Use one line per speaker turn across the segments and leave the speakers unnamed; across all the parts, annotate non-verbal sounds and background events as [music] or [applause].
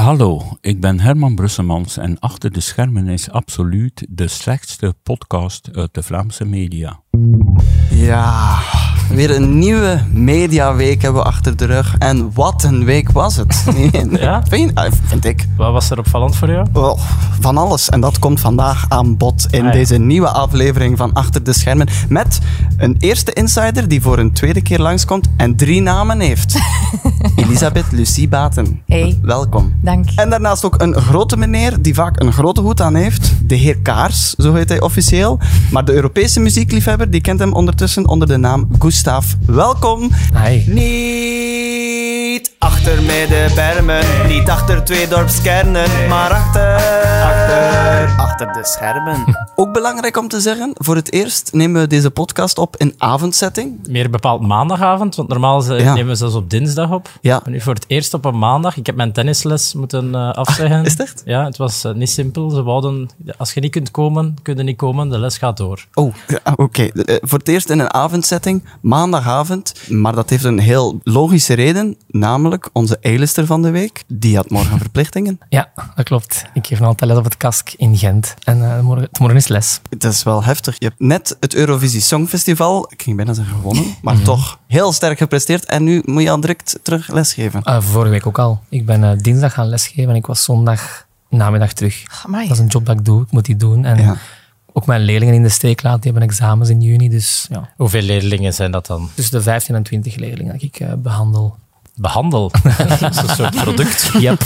Hallo, ik ben Herman Brussemans en achter de schermen is absoluut de slechtste podcast uit de Vlaamse media.
Ja, weer een nieuwe mediaweek hebben we achter de rug. En wat een week was het.
[laughs]
Nee,
Ja?
vind, ah, vind ik.
Wat was er opvallend voor jou?
Wel, van alles. En dat komt vandaag aan bod in
Ah, ja.
deze nieuwe aflevering van Achter de Schermen. Met een eerste insider die voor een tweede keer langskomt en drie namen
[laughs]
heeft. Elisabeth Lucie Baten.
Hey.
Welkom.
Dank.
En daarnaast ook een grote meneer die vaak een grote hoed aan heeft. De heer Kaars, zo heet hij officieel. Maar de Europese muziekliefhebber die kent hem ondertussen onder de naam Gustav. Welkom.
Hi.
Niet achter middenbermen, niet achter twee dorpskernen, maar achter, achter, achter de schermen. Ook belangrijk om te zeggen, voor het eerst nemen we deze podcast op in avondsetting.
Meer bepaald maandagavond, want normaal ze-
Ja.
nemen we zelfs op dinsdag op.
Ja. Ah,
Maar nu voor het eerst op een maandag. Ik heb mijn tennisles moeten eh, afzeggen.
is het echt?
Ja, het was eh, niet simpel. Ze wouden, als je niet kunt komen, kun je niet komen. De les gaat door.
Oh, ja, oké. Eh, Voor het eerst in een avondsetting, maandagavond. Maar dat heeft een heel logische reden, namelijk onze eilister van de week. Die had morgen verplichtingen.
Ja, dat klopt. Ik geef nog altijd les op het KASK in Gent. En eh, morgen, het morgen is les.
Het is wel heftig. Je hebt net het Eurovisie Songfestival, ik ging bijna zeggen gewonnen, maar toch heel sterk gepresteerd. En nu moet je al direct terug lesgeven.
Eh, vorige week ook al. Ik ben eh, dinsdag gaan lesgeven en ik was zondag namiddag terug.
Amai.
Dat is een job dat ik doe. Ik moet die doen. En
Ja.
ook mijn leerlingen in de steek laten. Die hebben examens in juni. Dus ja,
Hoeveel leerlingen zijn dat dan?
tussen de 15 en 20 leerlingen dat ik eh, behandel.
Behandel. [laughs] dat is een soort product.
Yep.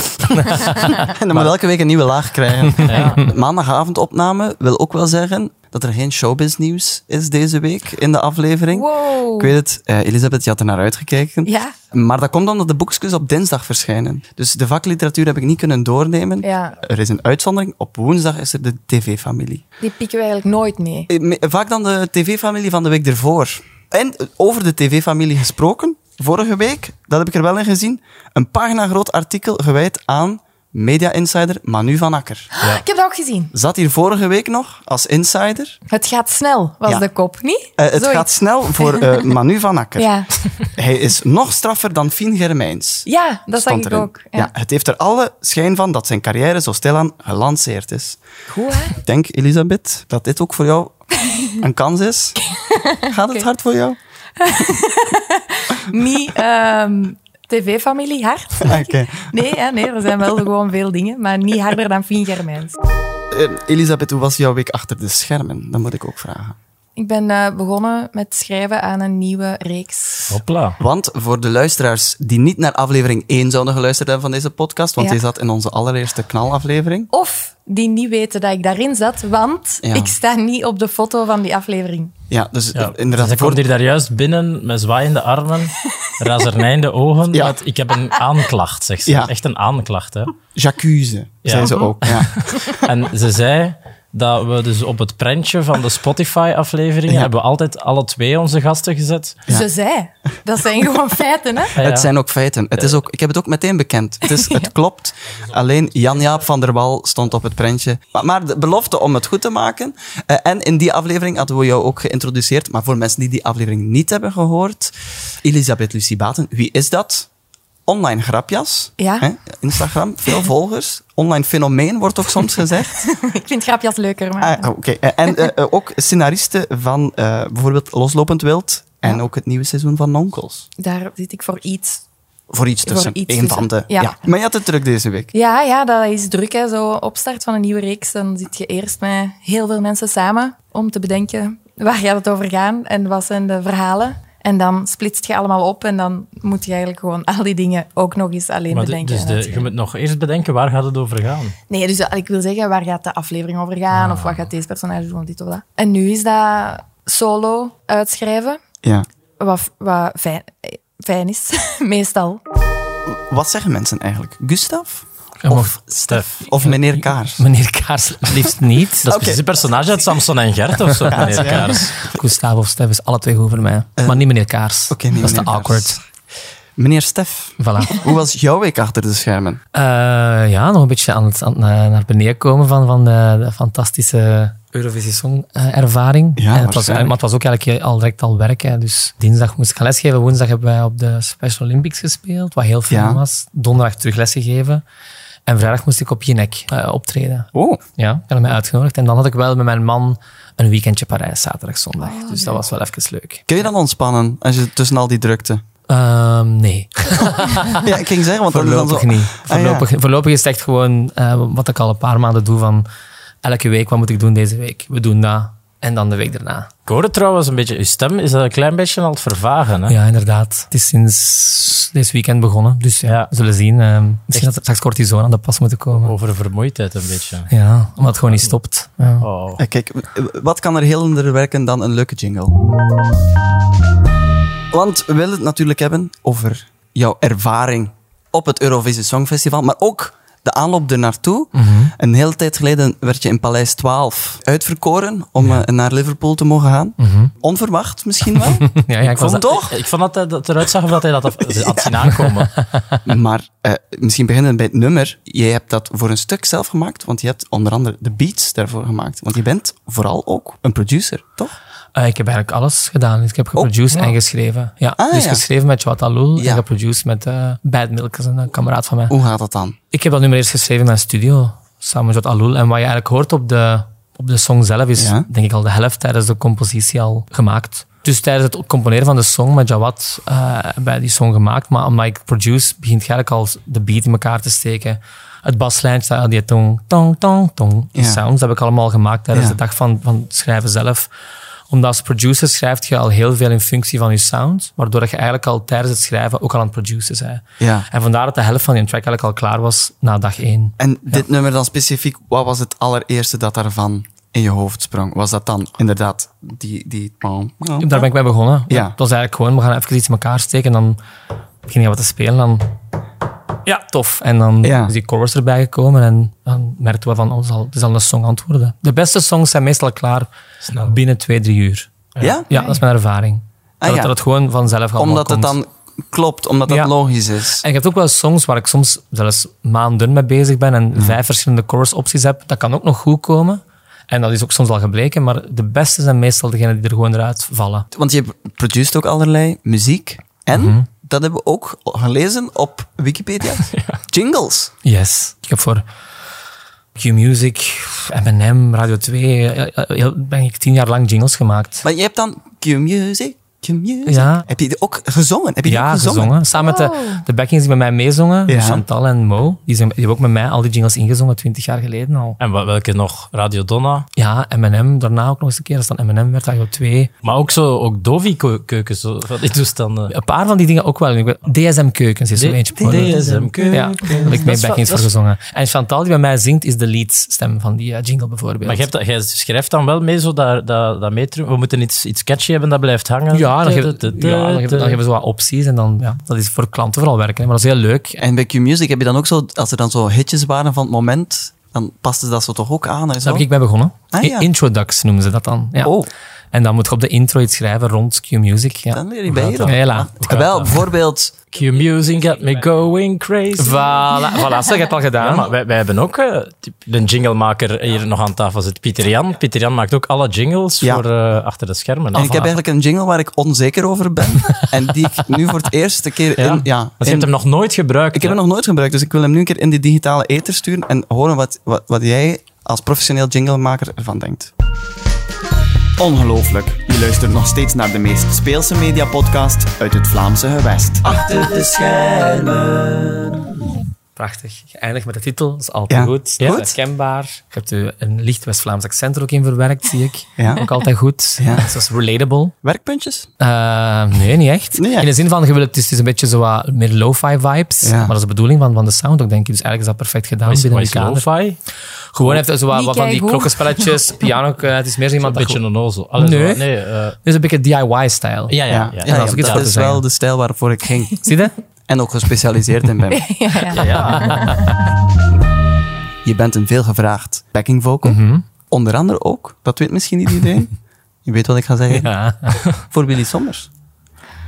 En dan moet elke week een nieuwe laag krijgen.
Ja.
Maandagavond opname wil ook wel zeggen dat er geen showbiz nieuws is deze week in de aflevering.
Wow.
Ik weet het, eh, Elisabeth, je had er naar uitgekeken.
Ja.
Maar dat komt omdat de boekjes op dinsdag verschijnen. Dus de vakliteratuur heb ik niet kunnen doornemen.
Ja.
Er is een uitzondering. Op woensdag is er de tv-familie.
Die pikken we eigenlijk nooit mee.
Eh, me- Vaak dan de tv-familie van de week ervoor. En eh, over de tv-familie gesproken, vorige week, dat heb ik er wel in gezien, een pagina groot artikel gewijd aan media insider Manu van Akker.
Ah, Ik heb dat ook gezien.
Zat hier vorige week nog als insider.
Het gaat snel, was
Ja.
de kop, niet?
Eh, het
Zoiets.
gaat snel voor
[laughs]
eh, Manu van Akker.
Ja,
Hij is nog straffer dan Fien Germijns.
ja dat zag
stond
ik
erin.
ook.
Ja. het heeft er alle schijn van dat zijn carrière zo stilaan gelanceerd is.
Goed, hè?
Ik denk, Elisabeth, dat dit ook voor jou een kans
[laughs]
is. Gaat het hard voor jou?
Niet ehm, tv-familie hard.
[laughs] Oké.
Nee, hè, nee, er zijn wel gewoon veel dingen, maar niet harder dan Fien Germijns.
Eh, Elisabeth, hoe was jouw week achter de schermen? Dat moet ik ook vragen.
Ik ben eh, begonnen met schrijven aan een nieuwe reeks.
Hopla.
Want voor de luisteraars die niet naar aflevering 1 zouden geluisterd hebben van deze podcast, want
Ja.
die zat in onze allereerste knalaflevering.
Of die niet weten dat ik daarin zat, want
Ja.
ik sta niet op de foto van die aflevering.
Ja, dus eh,
Ja.
inderdaad.
Ze
voor-
komt hier daar juist binnen met zwaaiende armen, razernijende ogen.
Ja.
want ik heb een aanklacht, zegt ze.
Ja.
Echt een aanklacht, hè.
Jacuse,
Ja.
zei ze ook. Ja.
[laughs] En ze zei dat we dus op het prentje van de Spotify-afleveringen
Ja.
hebben we altijd alle twee onze gasten gezet.
Ze zei. Dat zijn gewoon feiten, hè?
Ja, ja.
Het zijn ook feiten. Het is ook, ik heb het ook meteen bekend. Het, is, het klopt. Alleen Jan-Jaap van der Wal stond op het prentje. Maar, maar de belofte om het goed te maken. Eh, en in die aflevering hadden we jou ook geïntroduceerd. Maar voor mensen die die aflevering niet hebben gehoord. Elisabeth Lucie Baten, wie is dat? Online grapjas.
Ja.
Hè? Instagram, veel volgers. Online fenomeen wordt ook soms gezegd.
Ik vind grapjas leuker, maar...
Ah, Oké. Eh, En eh, eh, ook scenariste van eh, bijvoorbeeld Loslopend Wild. En ook het nieuwe seizoen van Nonkels.
daar zit ik voor iets.
Voor iets tussen.
iets
Eén van de.
tussen,
Ja.
ja.
Maar je had het druk deze week.
Ja, ja, dat is druk. Hè. Zo opstart van een nieuwe reeks, dan zit je eerst met heel veel mensen samen om te bedenken waar gaat het over gaan en wat zijn de verhalen. En dan splitst je allemaal op en dan moet je eigenlijk gewoon al die dingen ook nog eens alleen
Maar de-
bedenken.
dus
en
de, je
uitschrijven.
moet nog eerst bedenken waar gaat het over gaan.
Nee, dus ik wil zeggen, waar gaat de aflevering over gaan
Ah.
of wat gaat deze personage doen of dit of dat. En nu is dat solo uitschrijven,
Ja.
wat, wat fijn, eh, fijn is, [laughs] meestal.
Wat zeggen mensen eigenlijk? Gustav?
Ja,
Of
maar-
Stef? Of meneer Kaars?
Meneer Kaars, het liefst niet.
Dat is [laughs]
Dat
precies een personage uit Samson en Gert of zo, meneer Kaars.
is Gustav of Stef is alle twee goed voor mij. maar niet meneer Kaars.
Eh. Oké, niet
dat is te
meneer
awkward.
Meneer Stef,
Voilà.
hoe was jouw week achter de schermen?
Eh, ja, nog een beetje aan het, aan, het, eh, naar beneden komen van, van de, de fantastische Eurovisie Song eh, ervaring.
Ja,
en het was,
waarschijnlijk.
maar het was ook eigenlijk al direct al werk. Hè. Dus dinsdag moest ik gaan lesgeven. Woensdag hebben wij op de Special Olympics gespeeld, wat heel fijn
Ja.
was. Donderdag terug lesgegeven. En vrijdag moest ik op Jinek eh, optreden.
Oh,
Ja, ik had mij uitgenodigd. En dan had ik wel met mijn man een weekendje Parijs, zaterdag, zondag. dus dat was wel even leuk.
kun je dan ontspannen als je tussen al die drukte?
Ehm, nee,
Ja, ik ging zeggen, want dat Ah, is dan
voorlopig
zo...
niet. Voorlopig, voorlopig is het echt gewoon eh, wat ik al een paar maanden doe van elke week, wat moet ik doen deze week? We doen dat. En dan de week daarna.
Ik hoorde trouwens een beetje, uw stem is dat een klein beetje aan het vervagen. Hè?
Ja, inderdaad. Het is sinds dit weekend begonnen. Dus ja,
Ja.
we zullen zien. ehm, misschien dat er straks cortison aan de pas moeten komen.
Over vermoeidheid een beetje.
Ja, omdat het gewoon niet stopt. Ja.
Oh.
Eh, Kijk, wat kan er helender werken dan een leuke jingle? Want we willen het natuurlijk hebben over jouw ervaring op het Eurovisie Songfestival, maar ook de aanloop ernaartoe. Een hele tijd geleden werd je in Paleis 12 uitverkoren om eh, naar Liverpool te mogen gaan. Onverwacht misschien wel,
Ja, ja, ik was
Vond
dat-
toch?
Ik, ik vond dat hij dat eruit zag of dat hij dat had, had zien aankomen.
Maar eh, misschien beginnen bij het nummer. Jij hebt dat voor een stuk zelf gemaakt, want je hebt onder andere de beats daarvoor gemaakt. Want je bent vooral ook een producer, toch?
Eh, ik heb eigenlijk alles gedaan. Ik heb geproduced en geschreven. Ja,
Oh, Ah,
dus
ja.
geschreven met Jawad Alul
Ja.
en geproduced met eh Bad Milk, dat is een kameraad van mij.
Hoe gaat dat dan?
Ik heb dat nummer eerst geschreven in mijn studio, samen met Jawad Alul. En wat je eigenlijk hoort op de, op de song zelf is,
Ja.
denk ik, al de helft tijdens de compositie al gemaakt. Dus tijdens het componeren van de song met Jawad eh, hebben wij die song gemaakt. Maar omdat ik produce, begint je eigenlijk al de beat in elkaar te steken. Het baslijntje, staat al die tong, tong, tong, tong. Die
Ja.
sounds heb ik allemaal gemaakt tijdens
Ja.
de dag van, van het schrijven zelf. Omdat als producer schrijft je al heel veel in functie van je sound. Waardoor dat je eigenlijk al tijdens het schrijven ook al aan het produceren bent.
Ja.
En vandaar dat de helft van je track eigenlijk al klaar was na dag één.
En dit nummer dan specifiek, wat was het allereerste dat daarvan in je hoofd sprong? Was dat dan inderdaad die... die
Daar ben ik mee begonnen.
Ja.
Dat was eigenlijk gewoon, we gaan even iets in elkaar steken en dan begin je wat te spelen. Dan, ja, tof. En dan
Ja.
is die chorus erbij gekomen en dan merkten we van, oh, het is al- het is al een song antwoorden. De beste songs zijn meestal klaar binnen twee, drie uur.
Ja?
Ja, dat is mijn ervaring.
Ah,
dat,
ja.
dat het gewoon vanzelf allemaal
Omdat het
komt.
dan klopt, omdat dat
Ja.
logisch is.
En je hebt ook wel songs waar ik soms zelfs maanden mee bezig ben en
Mhm.
vijf verschillende chorus opties heb. Dat kan ook nog goed komen. En dat is ook soms al gebleken, maar de beste zijn meestal degenen die er gewoon eruit vallen.
Want je produceert ook allerlei muziek. En, dat hebben we ook gelezen op [laughs] Wikipedia, jingles.
Yes. Ik heb voor Q-Music, M&M, Radio 2, eh, eh, heel- ben ik tien jaar lang jingles gemaakt.
Maar je hebt dan Q-music, Q-music.
Ja.
Heb je die ook gezongen? Heb je die
Ja,
ook gezongen? Oh.
gezongen. Samen met de,
Wow.
de backings die met mij meezongen,
Ja.
Chantal en Mo, die, zijn, die hebben ook met mij al die jingles ingezongen, twintig jaar geleden al.
En wa- welke nog? Radio Donna.
Ja, M&M, daarna ook nog eens een keer, als dan M&M werd, Radio 2.
Maar ook zo, ook Dovi-keukens, zo, van die toestanden.
Een paar van die dingen ook wel. Ik ben- DSM Keukens is er
D-
eentje. geworden.
DSM Keukens.
Ja, daar heb ik
Dat
mee
is wel-
backings voor
dat is-
gezongen. En Chantal, die bij mij zingt, is de leadstem van die eh, jingle bijvoorbeeld.
Maar je hebt dat- jij schrijft dan wel mee, zo dat, dat, dat metrum. We moeten iets, iets catchy hebben dat blijft hangen.
Ja, dan,
Du-
geef,
du- du- du-
ja, dan, geef, dan
du-
geven ze wat opties en dan, ja, dat is voor klanten vooral werken. hè, Maar dat is heel leuk.
En bij Q-music heb je dan ook zo, als er dan zo hitjes waren van het moment, dan paste dat zo toch ook aan en zo?
Daar heb ik mee begonnen.
Ah, ja.
I- Introducts noemen ze dat dan. Ja.
Oh.
En dan moet je op de intro iets schrijven rond Q-Music. Ja.
Dan leer je bij je dan.
Hela.
Ah, Wel, bijvoorbeeld...
Q music got me going crazy.
Voilà, voilà, zeg, je hebt al gedaan.
Ja, maar wij, wij hebben ook eh, typ- een jinglemaker hier nog aan tafel zit, Pieter Jan. Pieter Jan maakt ook alle jingles
Ja.
voor eh, achter de schermen.
En ik heb eigenlijk een jingle waar ik onzeker over ben. en die ik nu voor het eerste keer
Ja?
in... Ja,
Want je hebt
in-
hem nog nooit gebruikt.
ik heb
hè?
hem nog nooit gebruikt, dus ik wil hem nu een keer in die digitale ether sturen en horen wat, wat, wat jij als professioneel jinglemaker ervan denkt. Ongelooflijk. Je luistert nog steeds naar de meest speelse media-podcast uit het Vlaamse gewest. Achter de schermen.
Prachtig. Geëindigd met de titel, dat is altijd
Ja.
goed.
Ja.
Ja. Herkenbaar. Je hebt er een licht West-Vlaams accent er ook in verwerkt, zie ik.
Ja.
Ook altijd goed.
Ja.
Dus dat is relatable.
Werkpuntjes?
Eh, nee, niet echt.
Nee, echt.
In de zin van, je wil het, het is een beetje zo wat meer lo-fi vibes.
Ja.
Maar dat is de bedoeling van, van de sound ook, denk ik. Dus eigenlijk is dat perfect gedaan
Wat is,
binnen
wat
die
is
kader.
lo-fi?
Gewoon heeft hij zo wat,
Niet
wat van die
keigoed. [laughs]
klokkenspelletjes, piano. eh, Het is meer zo
Een
iemand dat
beetje
gewoon-
een ozel. Allee,
Nee.
zo, nee eh, ja,
Dus een beetje DIY-stijl.
ja,
Ja,
ja.
ja,
dat is ook iets
dat
voor te
is
zeggen.
wel de stijl waarvoor ik ging.
Zie je?
En ook gespecialiseerd in ben.
[laughs] Ja, ja.
[laughs] Je bent een veelgevraagd backing vocal.
Mhm.
Onder andere ook, dat weet misschien niet iedereen. Je weet wat ik ga zeggen.
Ja.
[laughs] Voor Willy Sommers.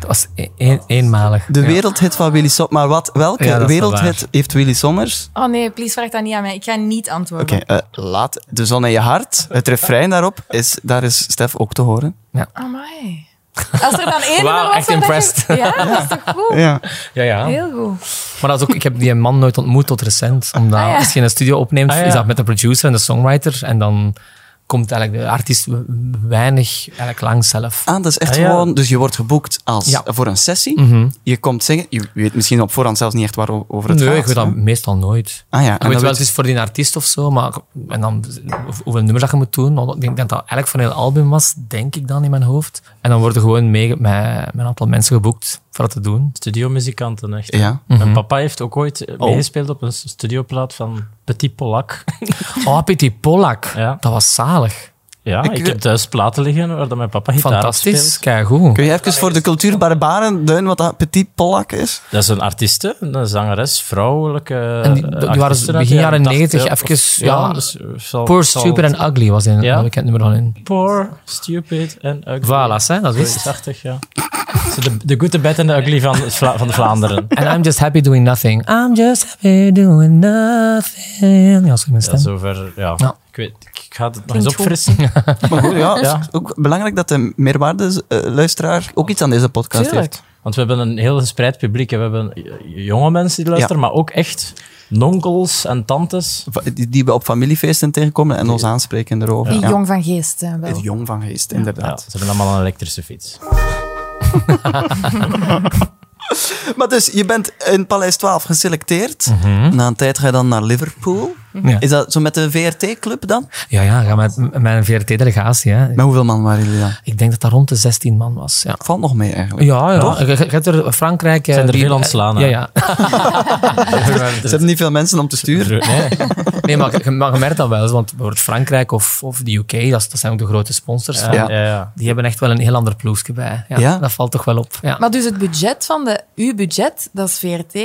Dat was e- een- eenmalig.
De
Ja.
wereldhit van Willy Sommers. Maar wat, welke
Ja, dat is wel
wereldhit
waar.
heeft Willy Sommers?
Oh nee, please vraag dat niet aan mij. Ik ga niet antwoorden.
Oké, eh, laat de zon in je hart. Het refrein daarop, is, daar is Stef ook te horen.
Amai. [laughs] Als er dan één
Wauw,
nummer was,
echt
dan dacht
impressed.
ik, ja, dat is toch goed?
Ja.
Ja, ja.
Heel goed.
Maar dat is ook, ik heb die man nooit ontmoet tot recent. Omdat
Ah, ja.
als je in een studio opneemt,
Ah, ja.
is dat met de producer en de songwriter. En dan komt eigenlijk de artiest we- weinig eigenlijk lang zelf.
Ah, dat is echt
Ah, ja.
gewoon... Dus je wordt geboekt als,
Ja. Mhm.
voor een sessie. Je komt zingen. Je weet misschien op voorhand zelfs niet echt waarover het
Nee,
gaat.
ik weet
hè?
dat meestal nooit.
Ah ja, en
Ik weet
dan
wel,
weet
het is voor die artiest of zo, maar en dan, hoe- hoeveel nummers dat je moet doen. want Ik denk dat dat eigenlijk voor een heel album was, denk ik dan in mijn hoofd. En dan worden gewoon mee, met, met een aantal mensen geboekt voor dat te doen.
Studiomuzikanten, echt.
Ja.
Mijn papa heeft ook ooit eh, meegespeeld op een studioplaat van Petit Polak.
Oh, Petit Polak,
Ja.
dat was zalig.
Ja,
Ik
ik,
weet-
heb thuis platen liggen waar dat mijn papa gitaar op
Fantastisch,
speelt.
kijk
Kun
goed.
je even voor de cultuur barbaren duiden wat dat petit Pollak is?
Dat is een artieste, een zangeres, vrouwelijke
En die- die
artieste
waren
uit de
begin jaren
tachtig,
90
of-
even, ja,
dus, eh, zal-
Poor,
zal-
Stupid and Ugly was in,
Ja.
ja. bekend nummer dan in.
Poor, stupid en ugly.
Voilà, hè, dat is
Zoiets achtig, ja. Zo De, de good, the bad en de ugly van, Vla- van de Vlaanderen.
And I'm just happy doing nothing. I'm just happy doing nothing. Ja, zo mijn
Ja,
stem.
zover, ja.
Ja.
Ik, weet, ik ga het nog eens
goed.
[laughs]
opfrissen.
Maar goed, ja,
Ja.
is ook belangrijk dat de meerwaarde-luisteraar ook iets aan deze podcast heeft.
Want we hebben een heel gespreid publiek. hè. We hebben eh, jonge mensen die luisteren, maar ook echt nonkels en tantes.
Va- Die, die we op familiefeesten tegenkomen en ons aanspreken erover.
Die
Ja.
jong van geest
eh,
zijn wel.
Jong van geest,
Ja,
inderdaad.
ze hebben allemaal een elektrische fiets.
Maar dus, je bent in Paleis 12 geselecteerd. Na een tijd ga je dan naar Liverpool.
Ja.
Is dat zo met de VRT-club dan?
Ja, ja, ga met, met mijn VRT-delegatie. hè.
Met hoeveel man waren jullie dan?
Ik denk dat dat rond de 16 man was. Ja,
Valt nog mee eigenlijk.
ja. ja. Je, je hebt er Frankrijk... eh,
Zijn er
die-
veel ontslaan, hè?
Ja, [laughs] ja.
[laughs] Ze hebben niet veel mensen om te sturen.
Nee,
Nee, maar je, maar je merkt dat wel. eens, Want bijvoorbeeld Frankrijk of, of de UK, dat, is- dat zijn ook de grote sponsors.
ja,
Ja.
ja. ja.
Die hebben echt wel een heel ander ploegje bij. Ja,
Ja?
Dat valt toch wel op. Ja.
Maar dus het budget van de, uw budget, dat is VRT.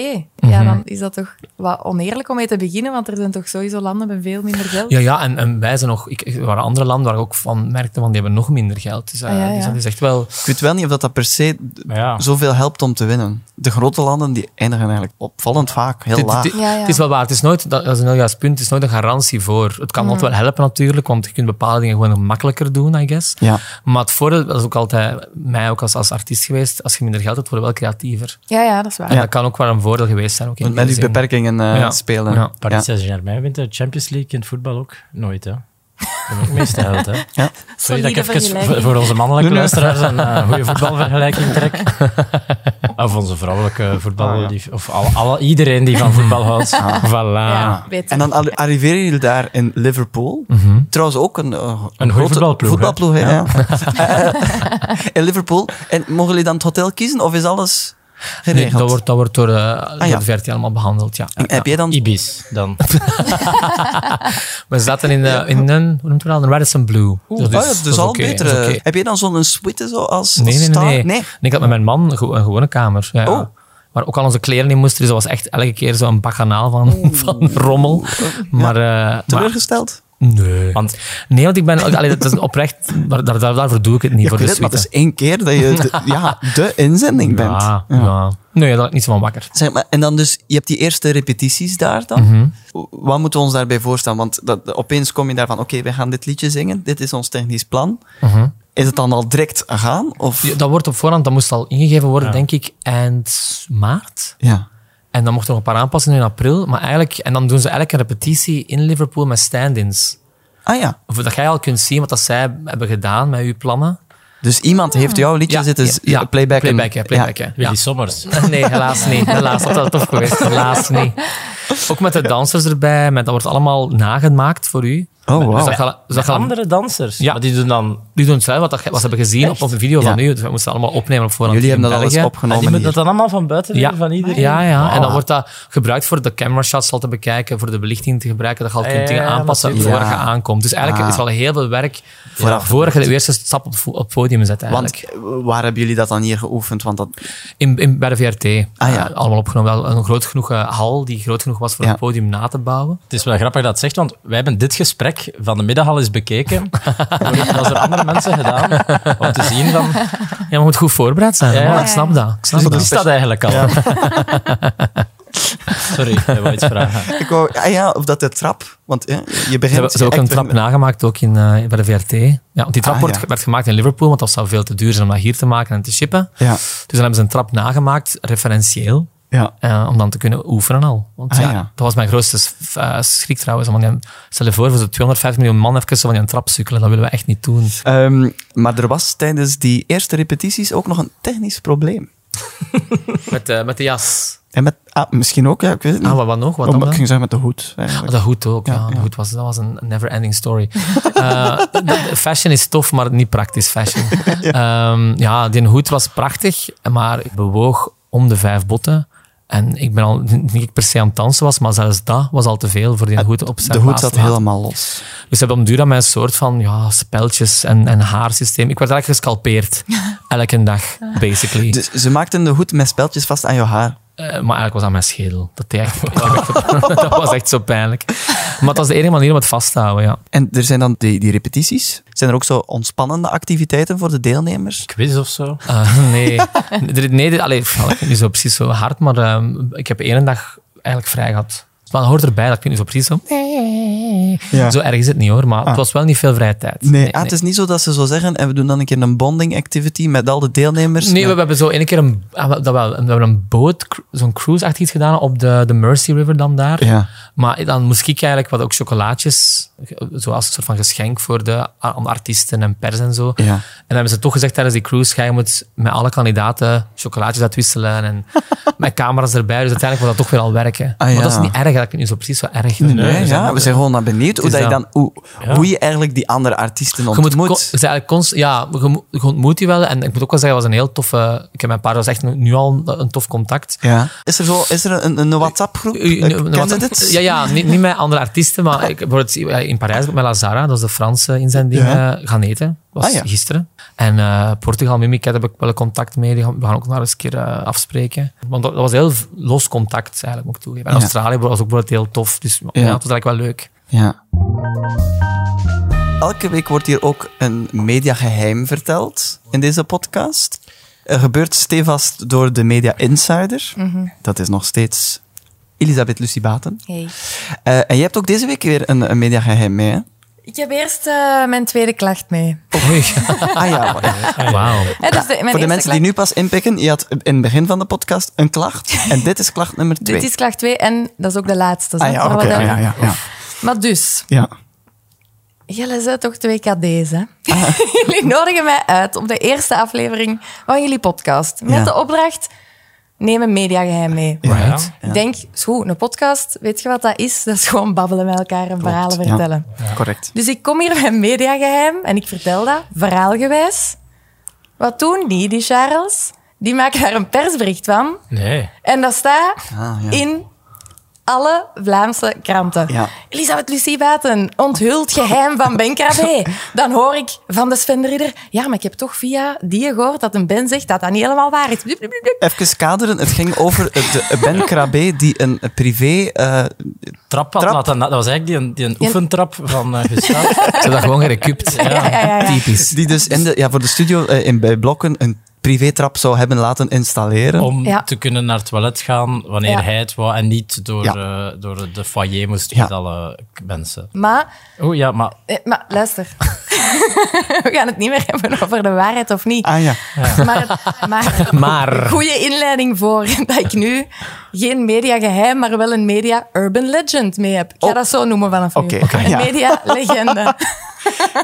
Ja, dan is dat toch wat oneerlijk om mee te beginnen, want er zijn toch sowieso landen met veel minder geld.
Ja, ja en, en wij zijn nog... Ik, er waren andere landen waar ik ook van merkte, want die hebben nog minder geld. Dus, eh,
Ah, ja,
dus
ja.
dat is echt wel...
Ik weet wel niet of dat, dat per se
Ah.
ja.
zoveel helpt om te winnen. De grote landen die eindigen eigenlijk opvallend vaak heel
Het- het-
laag.
Het,
Ja, ja.
het is wel waar. Het is nooit, dat dat is een heel juist punt. Het is nooit een garantie voor. Het
Mm.
kan altijd wel helpen natuurlijk, want je kunt bepaalde dingen gewoon makkelijker doen, I guess.
Ja.
Maar het voordeel, dat is ook altijd mij ook als, als artiest geweest, als je minder geld hebt, word je wel creatiever.
ja, ja, dat is waar.
En dat kan ook wel een voordeel geweest zijn. Ook in
Met, met
die
uw
zin.
beperkingen eh,
Ja.
spelen.
Ja.
Paris
Ja.
Saint-Germain wint de Champions League in het voetbal ook. Nooit, hè. Dat is ook meeste geld,
[laughs]
hè. Sorry dat ik
Solide
even
vergelijking.
voor- voor onze mannelijke luisteraars een eh, goede voetbalvergelijking
[laughs]
trek. Of onze vrouwelijke
Ah,
voetballief. Of alle, alle- iedereen die van voetbal
[laughs]
houdt. Voilà.
Ja, weet
En
je.
dan ar- arriveren jullie daar in Liverpool.
Mhm.
Trouwens ook een, eh, grote
goede voetbalploeg, hè?
voetbalploeg, hè, ja. [laughs] in Liverpool. En mogen jullie dan het hotel kiezen of is alles
Nee,
geregeld?
dat wordt, dat wordt door, eh, door
Ah, ja.
de VRT allemaal behandeld, ja.
En Heb jij dan...
Ibis
[laughs]
dan.
We zaten in, de, in een, hoe noemt het wel, een Radisson Blue.
Oh ja, dus
dat is
al
oké,
beter.
dat is
eh.
oké.
Heb jij dan zo'n suite zo als, als
Nee, nee,
star?
nee. nee. En Ik had met mijn man een gewo- een gewone kamer. Ja,
Oh.
Waar ook al onze kleren in moesten. Dus dat was echt elke keer zo'n bakanaal van, [laughs] van rommel. Maar, eh, maar
Teleurgesteld?
nee.
Want
nee, [laughs] want ik ben... Allee, dat is oprecht... Daar, daar, daarvoor doe ik het niet,
Ja, ik
voor
weet
de
het, maar het is
suite.
één keer dat je de, ja, de inzending bent.
[laughs] Ja, ja. Nee, daar ben ik niet zo van wakker.
Zeg maar, en dan dus, je hebt die eerste repetities daar dan.
Mhm.
W- Wat moeten we ons daarbij voorstellen? Want dat, opeens kom je daarvan, oké, wij gaan dit liedje zingen. Dit is ons technisch plan. Is het dan al direct gaan? Of?
Mhm. Ja,
Ja.
Dat wordt op voorhand... Dat moest al ingegeven worden, denk ik, eind maart. En dan mochten er nog een paar aanpassingen in april. Maar eigenlijk... En dan doen ze eigenlijk een repetitie in Liverpool met stand-ins.
Ah ja.
Of dat jij al kunt zien wat dat zij hebben gedaan met uw plannen.
Dus iemand heeft jouw liedje zitten z- playbacken.
Playback, ja, playback,
Ja.
ja.
Willy
Ja. [laughs]
Sommers.
Nee, helaas niet. Helaas, dat had tof geweest. Helaas niet. Ook met de dansers erbij. Met, dat wordt allemaal nagemaakt voor u.
Oh,
Dus dat
wow.
gaan, dus dat gaan-
Andere dansers.
Ja.
Maar die doen dan... Ah,
die doen het zelf, wat, dat, wat ze hebben gezien op, op een video van
Ja.
u. Dus we moesten allemaal opnemen op voorhand.
Jullie
in
hebben dat alles
België.
En die
opgenomen
moeten dat
hier.
dan allemaal van buiten
Ja.
doen, van iedereen.
Ja, ja.
Ah.
En dan wordt dat gebruikt voor de camerashots al te bekijken, voor de belichting te gebruiken. Dat je al
Ah, Ja,
kunt
ja,
dingen
ja,
aanpassen
natuurlijk.
voordat je
Ja.
aankomt. Dus eigenlijk
Ah.
is wel heel veel werk
Vooraf.
voordat je de eerste stap op, op het podium zet. Eigenlijk.
Want eh, waar hebben jullie dat dan hier geoefend? Want dat,
In, in, bij de VRT.
Ah, ja.
Eh, allemaal opgenomen. Wel een groot genoeg eh, hal die groot genoeg was voor
Ja.
het podium na te bouwen.
Het is wel grappig dat je het zegt, want wij hebben dit gesprek van de middag al eens
[laughs]
bekeken. Dat is door andere mensen gedaan. Om te zien van...
Ja, maar je moet goed voorbereid zijn.
Ja, ja.
man. Ik snap dat. Ik snap
Hoe
dat.
is dat eigenlijk al? Sorry, ik wou iets [laughs] vragen.
Ik wou, ja, ja, of dat de trap, want ja, je
Ze
begint...
hebben, ze hebben ook een
echt
trap
met-
nagemaakt ook in, eh, bij de VRT. Ja, want die trap
Ah,
wordt,
ja.
werd gemaakt in Liverpool, want dat zou veel te duur zijn om dat hier te maken en te shippen.
Ja,
Dus dan hebben ze een trap nagemaakt, referentieel,
ja.
eh, om dan te kunnen oefenen al. Want
Ah,
ja,
ja.
dat was mijn grootste s- eh, schrik trouwens. Want die- stel je voor, voor zo'n 250 miljoen man even zo van die trap sukkelen. Dat willen we echt niet doen.
Ehm, maar er was tijdens die eerste repetities ook nog een technisch probleem.
Met, eh, met de jas.
En met, ah, misschien ook, ja, ik weet het niet.
Ah, wat, wat nog? Wat
Oh,
dan?
maar ik
dan?
ging zeggen met de hoed.
Ah,
eigenlijk.
dat goed ook. Ja,
Ja,
dat
ja.
goed was, dat was een never-ending story. [laughs] Eh, de- de fashion is tof, maar niet praktisch fashion.
[laughs]
ja. ja, die hoed was prachtig, maar ik bewoog om de vijf botten. En ik ben al, niet dat ik per se aan het dansen was, maar zelfs dat was al te veel voor die hoed op zijn
Ah, de hoed
laatste
zat
maat.
helemaal los.
Dus ze hebben op duur aan mijn soort van ja, speltjes en, en haarsysteem. Ik werd eigenlijk gescalpeerd. Elke dag, basically.
Dus ze maakten de hoed met speltjes vast aan je haar.
Eh, maar eigenlijk was dat mijn schedel. Dat, deed echt- [laughs] dat was echt zo pijnlijk. Maar dat was de enige manier om het vast te houden, ja.
En er zijn dan die, die repetities. Zijn er ook zo ontspannende activiteiten voor de deelnemers?
Quiz of zo?
Eh, nee, nee, nee dit- allee, pff, ik weet niet zo precies zo hard, maar ehm, ik heb één dag eigenlijk vrij gehad. Maar dat hoort erbij, dat ik weet niet zo precies zo...
Ja.
Zo erg is het niet hoor, maar
Ah.
het was wel niet veel vrije tijd.
Nee, ah, het is niet zo dat ze zo zeggen en we doen dan een keer een bonding activity met al de deelnemers.
Nee, we hebben zo één keer een, ah, wel, dat wel, we hebben een boot, cru- zo'n cruise-achtig iets gedaan op de, de Mercy River dan daar.
Ja.
Maar dan moest ik eigenlijk wat ook chocolaatjes, ge- zoals een soort van geschenk voor de a- aan de artiesten en pers en zo.
Ja.
En dan hebben ze toch gezegd tijdens die cruise, ga je moet met alle kandidaten chocolaatjes
[laughs]
uitwisselen en met camera's erbij. Dus uiteindelijk wil dat toch weer al werken.
Ah, ja.
Maar dat is niet erg, dat ik het niet zo precies zo erg.
Nee, ja, we zijn gewoon dan benieuwd hoe,
is
dat je,
dat.
dan, hoe, hoe je eigenlijk die andere artiesten
Je moet,
ontmoet.
co- het is eigenlijk const, ja, je mo- je ontmoet die wel. En ik moet ook wel zeggen, het was een heel toffe... Ik heb mijn paar, dat was echt nu al een, een tof contact.
ja. Is er, zo, is er een, een WhatsApp-groep?
U-
Eh,
nu- nu-
Kende
wat-
dit?
Ja, ja niet, niet met andere artiesten, maar ik, bijvoorbeeld eh, in Parijs heb ik met Lazara, dat is de Franse inzending,
Ja.
eh, gaan eten. was
Ah, ja.
gisteren. En eh, Portugal Mimicat heb ik wel een contact mee. Die gaan, we gaan ook nog eens een keer eh, afspreken. Want dat, dat was heel v- los contact, eigenlijk, moet ik toegeven. En
Ja.
Australië was ook bijvoorbeeld heel tof. Dus ja.
Ja.
het was eigenlijk wel leuk.
Ja. Elke week wordt hier ook een mediageheim verteld in deze podcast. Er gebeurt stevast door de media insider.
Mhm.
Dat is nog steeds Elisabeth Lucie Baten.
Hey.
Eh, en je hebt ook deze week weer een, een mediageheim mee,
[laughs]
hè?
Ik heb eerst eh, mijn tweede klacht mee.
Oei,
Ah ja, wa-
wauw.
Hè, dus de- mijn
voor de
eerste
mensen die
klacht.
nu pas inpikken, je had in het begin van de podcast een
[laughs]
klacht. En dit is klacht nummer twee.
Dit is klacht 2 en dat is ook de laatste.
Ah
hè,
ja,
waar
oké.
we dan-
ah, ja, ja, ja.
Maar dus,
ja.
Jullie zijn toch twee KD's, hè? [laughs] jullie nodigen mij uit op de eerste aflevering van jullie podcast. Met
Ja.
de opdracht, neem een mediageheim mee.
Right.
Ja.
Ik denk, is goed, een podcast, weet je wat dat is? Dat is gewoon babbelen met elkaar en verhalen
ja.
vertellen.
Correct.
Dus ik kom hier met een mediageheim en ik vertel dat, verhaalgewijs. Wat doen die, die Charles? Die maken daar een persbericht van.
Nee.
En dat staat
Ah, ja.
in alle Vlaamse kranten.
Ja.
Elisabeth Lucie Baten onthult geheim van Ben Krabbe.
[laughs]
Dan hoor ik van de Sven de Ridder... Ja, maar ik heb toch via die gehoord dat een Ben zegt dat dat niet helemaal waar is. Blub, blub, blub.
Even kaderen, het ging over eh, de Ben Krabbe die een eh, privé... eh,
Trap had
Trap.
laten... Dat was eigenlijk die, die een oefentrap van eh Gustave.
[laughs]
Ze hebben dat gewoon
[laughs]
gerecupt.
Ja, ja, ja, ja.
Typisch.
die dus in de, ja, voor de studio eh, in, bij Blokken een privétrap zou hebben laten installeren.
om
Ja.
te kunnen naar het toilet gaan wanneer
Ja.
hij het wou en niet door,
Ja.
eh, door de foyer moest
Ja.
met alle mensen.
Maar,
Oh ja, maar
eh, maar luister. [laughs] We gaan het niet meer hebben over de waarheid of niet.
Ah ja.
Maar, maar,
Maar...
goede inleiding voor [laughs] dat ik nu geen mediageheim, maar wel een media urban legend mee heb. Ik ga
Oh.
dat zo noemen vanaf nu.
Oké, oké,
een
ja.
media
[laughs]
legende.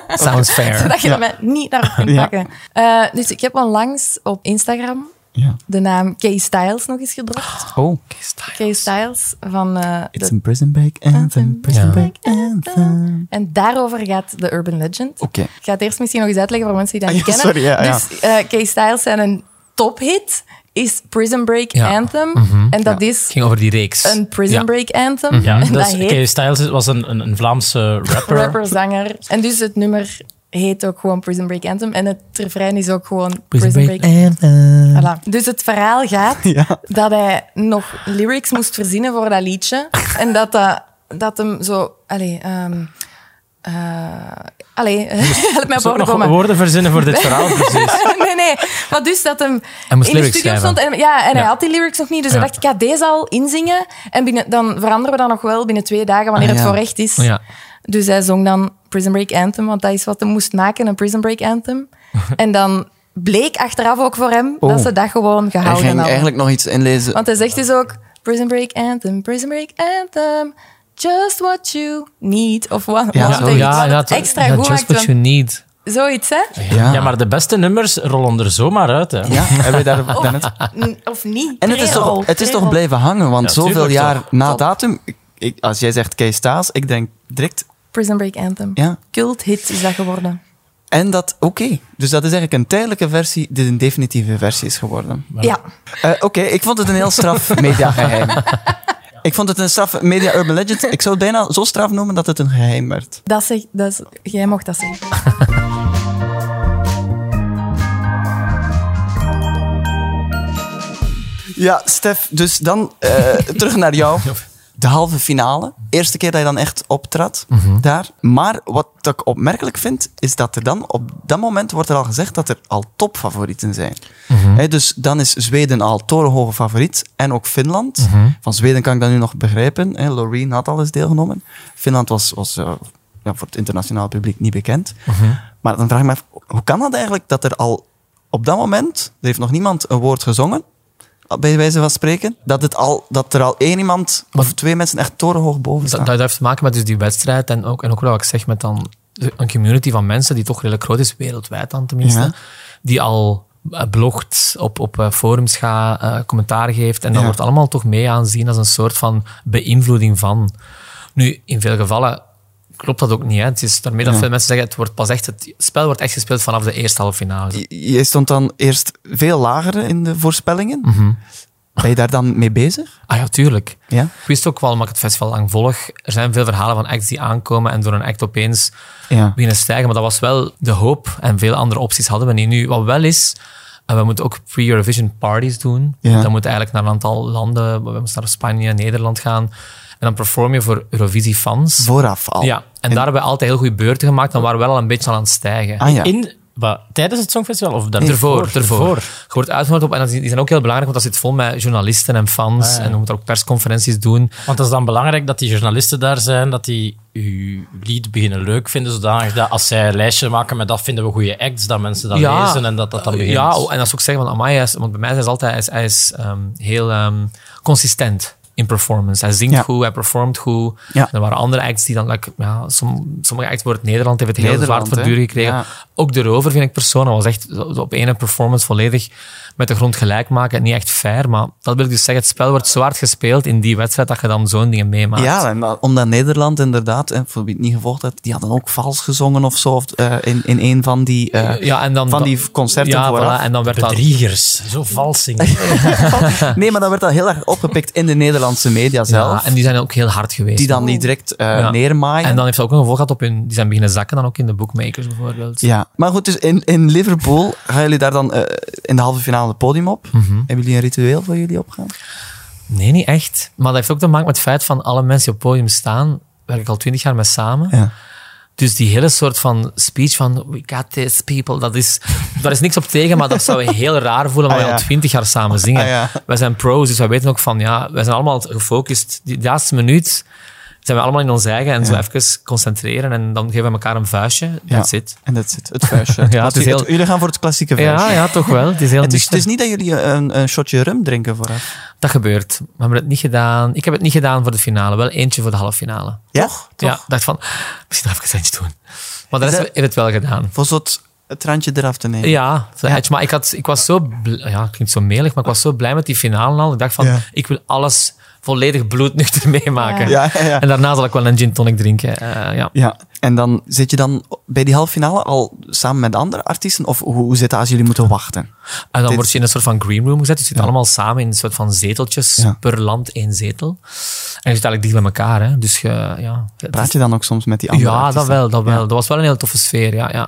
Sounds fair.
[laughs] zodat je dat niet naar op kunt
Ja.
pakken. Eh, dus ik heb onlangs op Instagram
ja.
de naam Kay Styles nog eens gedropt.
Oh,
Kay Styles van eh,
it's
de-
a prison break anthem, prison
Ja.
break anthem.
En daarover gaat de urban legend.
Oké.
Ik ga het eerst misschien nog eens uitleggen voor mensen die dat
Ah,
niet
ja,
kennen.
sorry, ja, ja.
Dus eh Kay Styles zijn een tophit is Prison Break
Ja.
Anthem. En dat is
Het ging over die reeks.
een Prison
Ja.
Break Anthem.
ja,
En dat
dus
heet
Kay Styles was een, een, een Vlaamse rapper.
rapper, zanger. En dus het nummer heet ook gewoon Prison Break Anthem. En het refrein is ook gewoon Prison, Break,
Anthem.
Voilà. Dus het verhaal gaat
[laughs] Ja.
dat hij nog lyrics
[laughs]
moest verzinnen voor dat liedje. En dat, dat, dat hem zo... Allez, ehm, eh, allee, [laughs] help mij op
Zo,
woorden
nog
komen.
woorden verzinnen voor dit verhaal, precies.
[laughs] nee, nee. Maar dus dat hem
Hij moest
in de
lyrics
studio
schrijven.
stond. En, ja, en hij
Ja.
had die lyrics nog niet. Dus
Ja.
hij dacht, ik ga deze al inzingen. En binnen, dan veranderen we dat nog wel binnen twee dagen, wanneer
Ah,
het
ja.
voor echt is.
Ja.
Dus hij zong dan Prison Break Anthem, want dat is wat hij moest maken, een Prison Break
[laughs]
Anthem. en dan bleek achteraf ook voor hem
Oh.
dat ze dat gewoon
Hij
gehouden
ging
hadden.
eigenlijk nog iets inlezen.
Want hij zegt dus ook: Prison Break Anthem, Prison Break Anthem. Just what you need. Of wa-
Ja,
want
zo.
hij-
ja,
wat
ja,
het
to-
extra
ja,
goed
just
maakt.
what you
want-
need.
Zoiets, hè?
Ja.
Ja, maar de beste nummers rollen er zomaar uit, hè.
[laughs] Ja, hebben we daar
Of,
daarnet-
n- of niet.
En het is
Pre-roll,
toch, het is toch
pre-roll.
blijven hangen, want
Ja,
zoveel
tuurlijk
jaar
toch.
na
Top.
datum... ik- ik- als jij zegt Kees Staes, ik denk direct...
Prison Break Anthem.
Ja.
Cult hit is dat geworden.
En dat, oké. Dus dat is eigenlijk een tijdelijke versie, die een definitieve versie is geworden.
Ja.
Eh, Oké, ik vond het een heel straf mediageheim. Ik vond het een straf media urban legend. Ik zou het bijna zo straf noemen dat het een geheim werd.
Dat zeg, dat is, jij mocht dat zeggen.
Ja, Stef, dus dan eh, terug naar jou. De halve finale. Eerste keer dat je dan echt optrad daar. Maar wat ik opmerkelijk vind, is dat er dan op dat moment wordt er al gezegd dat er al topfavorieten zijn. Hè, dus dan is Zweden al torenhoge favoriet. En ook Finland. Van Zweden kan ik dat nu nog begrijpen. Hè. Loreen had al eens deelgenomen. Finland was, was eh, ja, voor het internationaal publiek niet bekend. Maar dan vraag ik me af, hoe kan dat eigenlijk dat er al op dat moment, er heeft nog niemand een woord gezongen, Ah, bij wijze van spreken, dat, het al, dat er al één iemand of twee mensen echt torenhoog boven
Dat,
staan.
dat heeft te maken met dus die wedstrijd en ook, en ook wat ik zeg met dan een community van mensen die toch redelijk groot is, wereldwijd dan tenminste,
Ja.
die al eh, blogt, op, op eh, forums gaat, eh, commentaar geeft. En dat
Ja.
wordt allemaal toch mee aanzien als een soort van beïnvloeding van. Nu, in veel gevallen klopt dat ook niet. Hè. Het is daarmee dat veel mensen zeggen, het, wordt pas echt, het spel wordt echt gespeeld vanaf de eerste halve finale.
J- Jij stond dan eerst veel lager in de voorspellingen.
Mhm.
Ben je daar dan mee bezig?
Ah ja, tuurlijk.
Ja.
Ik wist ook wel, omdat ik het festival lang volg, er zijn veel verhalen van acts die aankomen en door een act opeens
ja.
beginnen stijgen. Maar dat was wel de hoop. En veel andere opties hadden we niet. Nu, wat wel is, eh, we moeten ook pre-Eurovision parties doen.
Ja.
Dan moet eigenlijk naar een aantal landen. We moesten naar Spanje, Nederland gaan. En dan perform je voor Eurovisie-fans.
Vooraf al.
Ja, en, daar hebben we altijd heel goede beurten gemaakt. Dan waren we wel al een beetje al aan het stijgen.
Ah, ja.
In, wat, tijdens het Songfestival of daarvoor?
Ervoor, ervoor. Je wordt uitgenodigd op, en dat is- die zijn ook heel belangrijk, want dat zit vol met journalisten en fans.
Ah,
En dan moet er ook persconferenties doen.
Want het is dan belangrijk dat die journalisten daar zijn, dat die uw lied beginnen leuk vinden, zodanig dat als zij een lijstje maken met dat vinden we goede acts, dat mensen dat lezen en dat dat dan
Eh,
begint.
Ja, oh, en dat ze ook zeggen van, amai, hij is, want bij mij is altijd, hij is, hij is ehm, heel ehm, consistent in performance. Hij zingt
Ja.
goed, hij performt goed.
Ja.
Er waren andere acts die dan, like, ja, som- sommige acts voor het Nederland heeft het heel
Nederland,
zwaar voor
hè?
duur gekregen.
Ja.
Ook de rover vind ik persoonlijk was echt op ene performance volledig met de grond gelijk maken. Niet echt fair, maar dat wil ik dus zeggen, het spel wordt zo hard gespeeld in die wedstrijd dat je dan zo'n dingen meemaakt.
Ja, en dat- omdat Nederland inderdaad, en voor wie het niet gevolgd had, die hadden ook vals gezongen of zo, of, eh, in, in een van die, eh,
Ja, en dan,
van die concerten
ja,
vooraf.
voilà, en dan werd dat...
Bedriegers, zo vals zingen.
Nee, maar dat werd dan heel erg opgepikt in de Nederlandse media zelf,
Ja, en die zijn ook heel hard geweest.
die dan niet direct eh,
Ja.
neermaaien.
En dan heeft dat ook een gevolg gehad op hun... Die zijn beginnen zakken dan ook in de bookmakers bijvoorbeeld.
Ja, maar goed, dus in, in Liverpool gaan jullie daar dan eh, in de halve finale het podium op.
Mhm.
Hebben jullie een ritueel voor jullie opgaan?
Nee, niet echt. Maar dat heeft ook te maken met het feit van alle mensen die op het podium staan, werk ik al twintig jaar mee samen.
Ja.
Dus die hele soort van speech van we got this people, dat is, daar is niks op tegen, maar dat zou je heel raar voelen,
Ah,
maar
ja.
al twintig jaar samen zingen.
Ah, ja.
Wij zijn pro's, dus wij weten ook van, ja, wij zijn allemaal gefocust. Die laatste minuut zijn we allemaal in ons eigen en zo even concentreren en dan geven we elkaar een vuistje. That's
Ja.
it.
En dat zit het vuistje. [laughs] Want
het is
jullie-
heel-
Jullie gaan voor het klassieke vuistje.
Ja, ja, toch wel. Het is heel
Het is,
nuchter.
het is niet dat jullie een, een shotje rum drinken vooraf.
Dat gebeurt. We hebben het niet gedaan. Ik heb het niet gedaan voor de finale. Wel eentje voor de halve finale.
Ja? Toch?
Ja, ik dacht van, "Ah, misschien even eens eentje doen. Maar de
Is
rest
dat-
heeft het wel gedaan.
Voor zo'n het randje eraf te nemen.
Ja, zo edge. maar ik, had, ik was zo... bl- Ja, het klinkt zo melig, maar ik was zo blij met die finale al. Ik dacht van,
Ja.
ik wil alles volledig bloednuchter [laughs] meemaken.
Ja, ja, ja.
En daarna zal ik wel een gin tonic drinken. Eh, ja.
Ja. En dan zit je dan bij die halve finale al samen met andere artiesten? Of hoe, hoe zit dat als jullie moeten wachten?
En dan
Dit-
word je in een soort van green room gezet. Je zit allemaal samen in een soort van zeteltjes.
Ja.
Per land één zetel. En je zit eigenlijk dicht bij elkaar. Hè. Dus je, ja, het
Praat je dan ook soms met die andere
ja, dat
artiesten?
wel, dat wel. Dat was wel een heel toffe sfeer, ja. ja.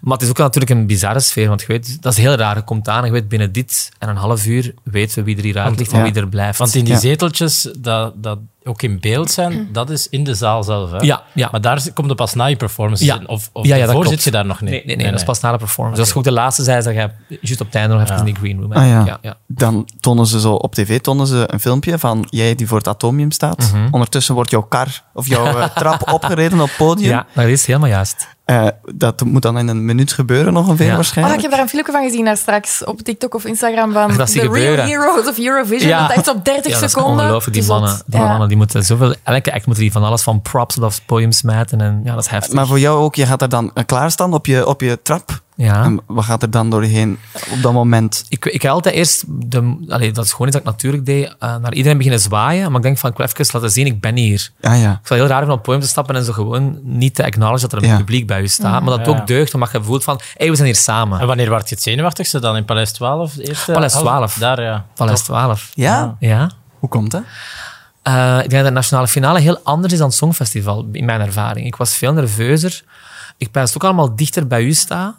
Maar het is ook natuurlijk een bizarre sfeer, want je weet, dat is heel raar. Je komt aan en je weet binnen dit en een half uur weten we wie er hier uit ligt en
ja.
wie er blijft.
Want in die
Ja.
zeteltjes, dat, dat ook in beeld zijn, dat is in de zaal zelf. Hè?
Ja, ja.
Maar daar komt het pas na je performance
Ja.
in. Of, of
Ja, ja, dat
daarvoor
klopt.
zit je daar nog niet.
Nee, nee, nee, dat is pas na de performance. Dat is ook de laatste zij dat je juist op het einde nog even in die green room
Ah, ja.
Ja, ja.
Dan tonen ze zo op tv tonen ze een filmpje van jij die voor het atomium staat.
Mhm.
Ondertussen wordt jouw kar of jouw
[laughs]
eh, trap opgereden op het podium.
ja, dat is helemaal juist.
Eh, dat moet dan in een minuut gebeuren ongeveer
Ja.
Oh,
waarschijnlijk.
ik heb daar een filmpje van gezien daar straks op TikTok of Instagram van
Dat
The
zie
Real
gebeuren.
Heroes of Eurovision.
Ja.
Dat is op 30
Ja, dat is
seconden.
ongelooflijk. Die
Het is
mannen,
zot.
die
Ja.
mannen die moeten zoveel... Elke act moet die van alles van props tot op podium smijten. En ja, dat is heftig.
Maar voor jou ook, je gaat er dan eh, klaarstaan op je, op je trap.
ja.
En wat gaat er dan doorheen op dat moment?
ik, ik ga altijd eerst, de, allee, dat is gewoon iets dat ik natuurlijk deed, eh, naar iedereen beginnen zwaaien. Maar ik denk van, ik wil even laten zien, ik ben hier.
Ah ja.
Ik zou heel raar vinden om op het podium te stappen en zo gewoon niet te acknowledge dat er een
Ja.
publiek bij u staat. Maar dat het
Ja.
ook deugt, omdat je voelt van, hey, we zijn hier
En
samen.
wanneer werd je het zenuwachtigste dan? In Paleis 12? De eerste,
Paleis
half-
12.
Daar, ja.
Paleis 12.
Ja?
Ja.
Hoe komt dat?
Eh, ik denk dat de nationale finale heel anders is dan het Songfestival, in mijn ervaring. Ik was veel nerveuzer. Ik ben ook allemaal dichter bij u sta.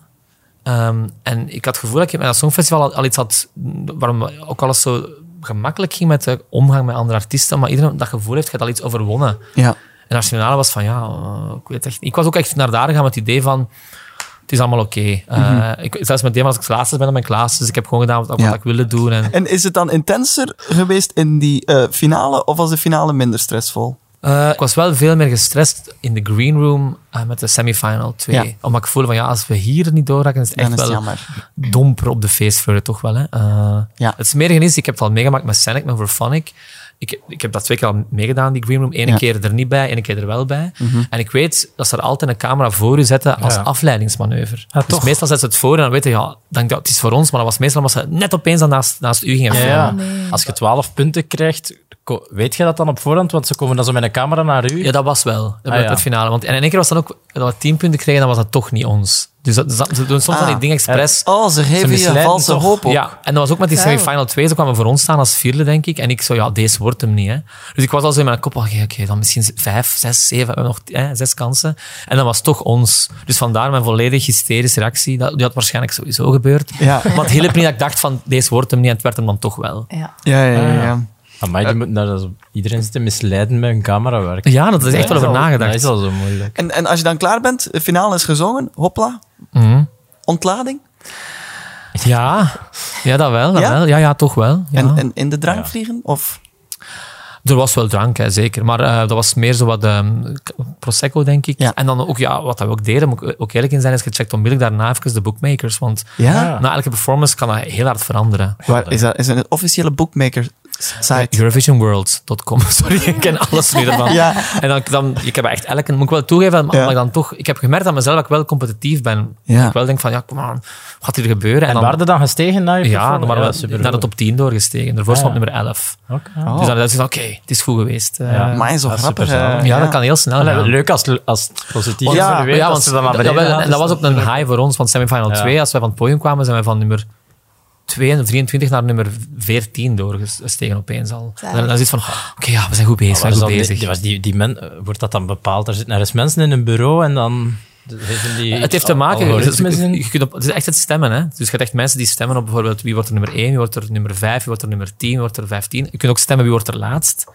Ehm, en ik had het gevoel dat ik met dat Songfestival al, al iets had... Waarom ook alles zo gemakkelijk ging met de omgang met andere artiesten. Maar iedereen dat gevoel heeft, je hebt al iets overwonnen.
Ja.
En Nationale was van, ja, eh, ik weet echt niet. Ik was ook echt naar daar gegaan met het idee van, het is allemaal oké. Eh, ik- Zelfs met thema als ik laatste ben dan ben ik laatste. Dus ik heb gewoon gedaan wat, wat
Mhm. Ja.
ik wilde doen. En,
En is het dan intenser geweest in die eh, finale of was de finale minder stressvol?
Eh, ik was wel veel meer gestrest in de green room eh, met de semifinal 2.
Ja.
Omdat ik voelde van, ja, als we hier niet doorraken, is het
Dan
echt
is het
wel
jammer.
domper op de feestvleugel, toch wel. Hè? Eh,
Ja.
Het smerige is, ik heb het al meegemaakt met Scenic, met Verphonic. Ik, ik heb dat twee keer al meegedaan, die green room. Eén
Ja. Mhm.
keer er niet bij, één keer er wel bij. En ik weet dat ze er altijd een camera voor u zetten als
Ja.
afleidingsmanoeuvre. dus
toch.
meestal zetten ze het voor en dan weten je, ja, denk, dat het is voor ons. Maar dat was meestal omdat ze net opeens dan naast, naast u gingen
Ja,
filmen.
ja.
nee.
Als je 12 punten krijgt, ko- weet je dat dan op voorhand? Want ze komen dan zo met een camera naar u.
Ja, dat was wel. Dat
Ah, ja.
het finale. Want, en in één keer was dan ook dat we tien punten kregen, dan was dat toch niet ons. Dus dat, dat- ze doen
Ah.
soms van die dingen expres.
Oh, ze geven je
misleiden
valse
toch?
hoop op.
Ja, en dat was ook met die
Vuil.
semifinal 2. Ze kwamen voor ons staan als vierde, denk ik. En ik zo, ja, deze wordt hem niet. Hè. Dus ik was al zo in mijn kop, oké, oké, dan misschien vijf, zes, zeven, we hebben nog hè, zes kansen. En dat was toch ons. Dus vandaar mijn volledig hysterische reactie. Dat, die had waarschijnlijk sowieso gebeurd.
Ja.
Maar het hielp niet dat ik dacht van, deze wordt hem niet. En het werd hem dan toch wel.
Ja.
Ja, ja,
Ah.
ja. ja.
Amai, die moeten daar zo- iedereen zit te misleiden met hun camerawerk.
Ja, dat is echt wel
Dat
over
al-
nagedacht.
Dat is al zo moeilijk.
En, en als je dan klaar bent, de finale is gezongen, hopla,
Mhm.
ontlading.
Ja, ja, dat wel. Dat
Ja?
wel. ja, ja, toch wel. Ja.
En, en in de drang vliegen? Of?
Er was wel drank, hè, zeker. Maar eh, dat was meer zo wat ehm, k- Prosecco, denk ik.
Ja.
En dan ook, ja, wat we ook deden, moet ik ook eerlijk in zijn, is gecheckt onmiddellijk daarna even de bookmakers. Want
Ja.
na elke performance kan dat heel hard veranderen.
Waar is dat? Is een officiële bookmaker site.
Eurovisionworld.com, [laughs] sorry, ik ken alles nu ervan.
Ja.
En dan, dan, ik heb echt elke, moet ik wel toegeven, maar
Ja.
maar ik dan toch, ik heb gemerkt aan mezelf dat ik wel competitief ben.
Ja.
Ik wel denk van, ja, kom aan, wat gaat hier gebeuren? En,
En
dan,
waren dan gestegen naar je
ja, dan
performance?
waren we
supergoed.
naar de top 10 doorgestegen. Daarvoor
Ah,
stond
ja.
nummer 11.
Oké.
Oh.
Dus dan dacht ik, van, oké, het is goed geweest. Eh,
Ja.
Maar zo
Ah,
grappig.
superzalig.
eh,
Ja, dat kan heel snel.
Allee,
gaan.
Leuk als, als het positief is.
Ja,
maar je weet
ja,
dat
want
ze dan naar
dat-
beneden
dat-
gaan,
en
dus
dat was ook een high voor ons, want semifinal
Ja.
2, als wij van het podium kwamen, zijn wij van nummer 2 en 23 naar nummer 14 doorgestegen opeens al.
Zalig.
En dan is het van, "Oh, oké, ja, we zijn goed bezig, we
Maar
zijn goed
was dan
bezig.
die- was die, die men, eh, wordt dat dan bepaald? Er zitten ergens mensen in een bureau en dan geven die
Het heeft te maken,
algoritmes in.
je kunt op, het is echt het stemmen. Hè? Dus je hebt echt mensen die stemmen op bijvoorbeeld wie wordt er nummer 1, wie wordt er nummer 5, wie wordt er nummer 10, wie wordt er 15. Je kunt ook stemmen wie wordt er laatst.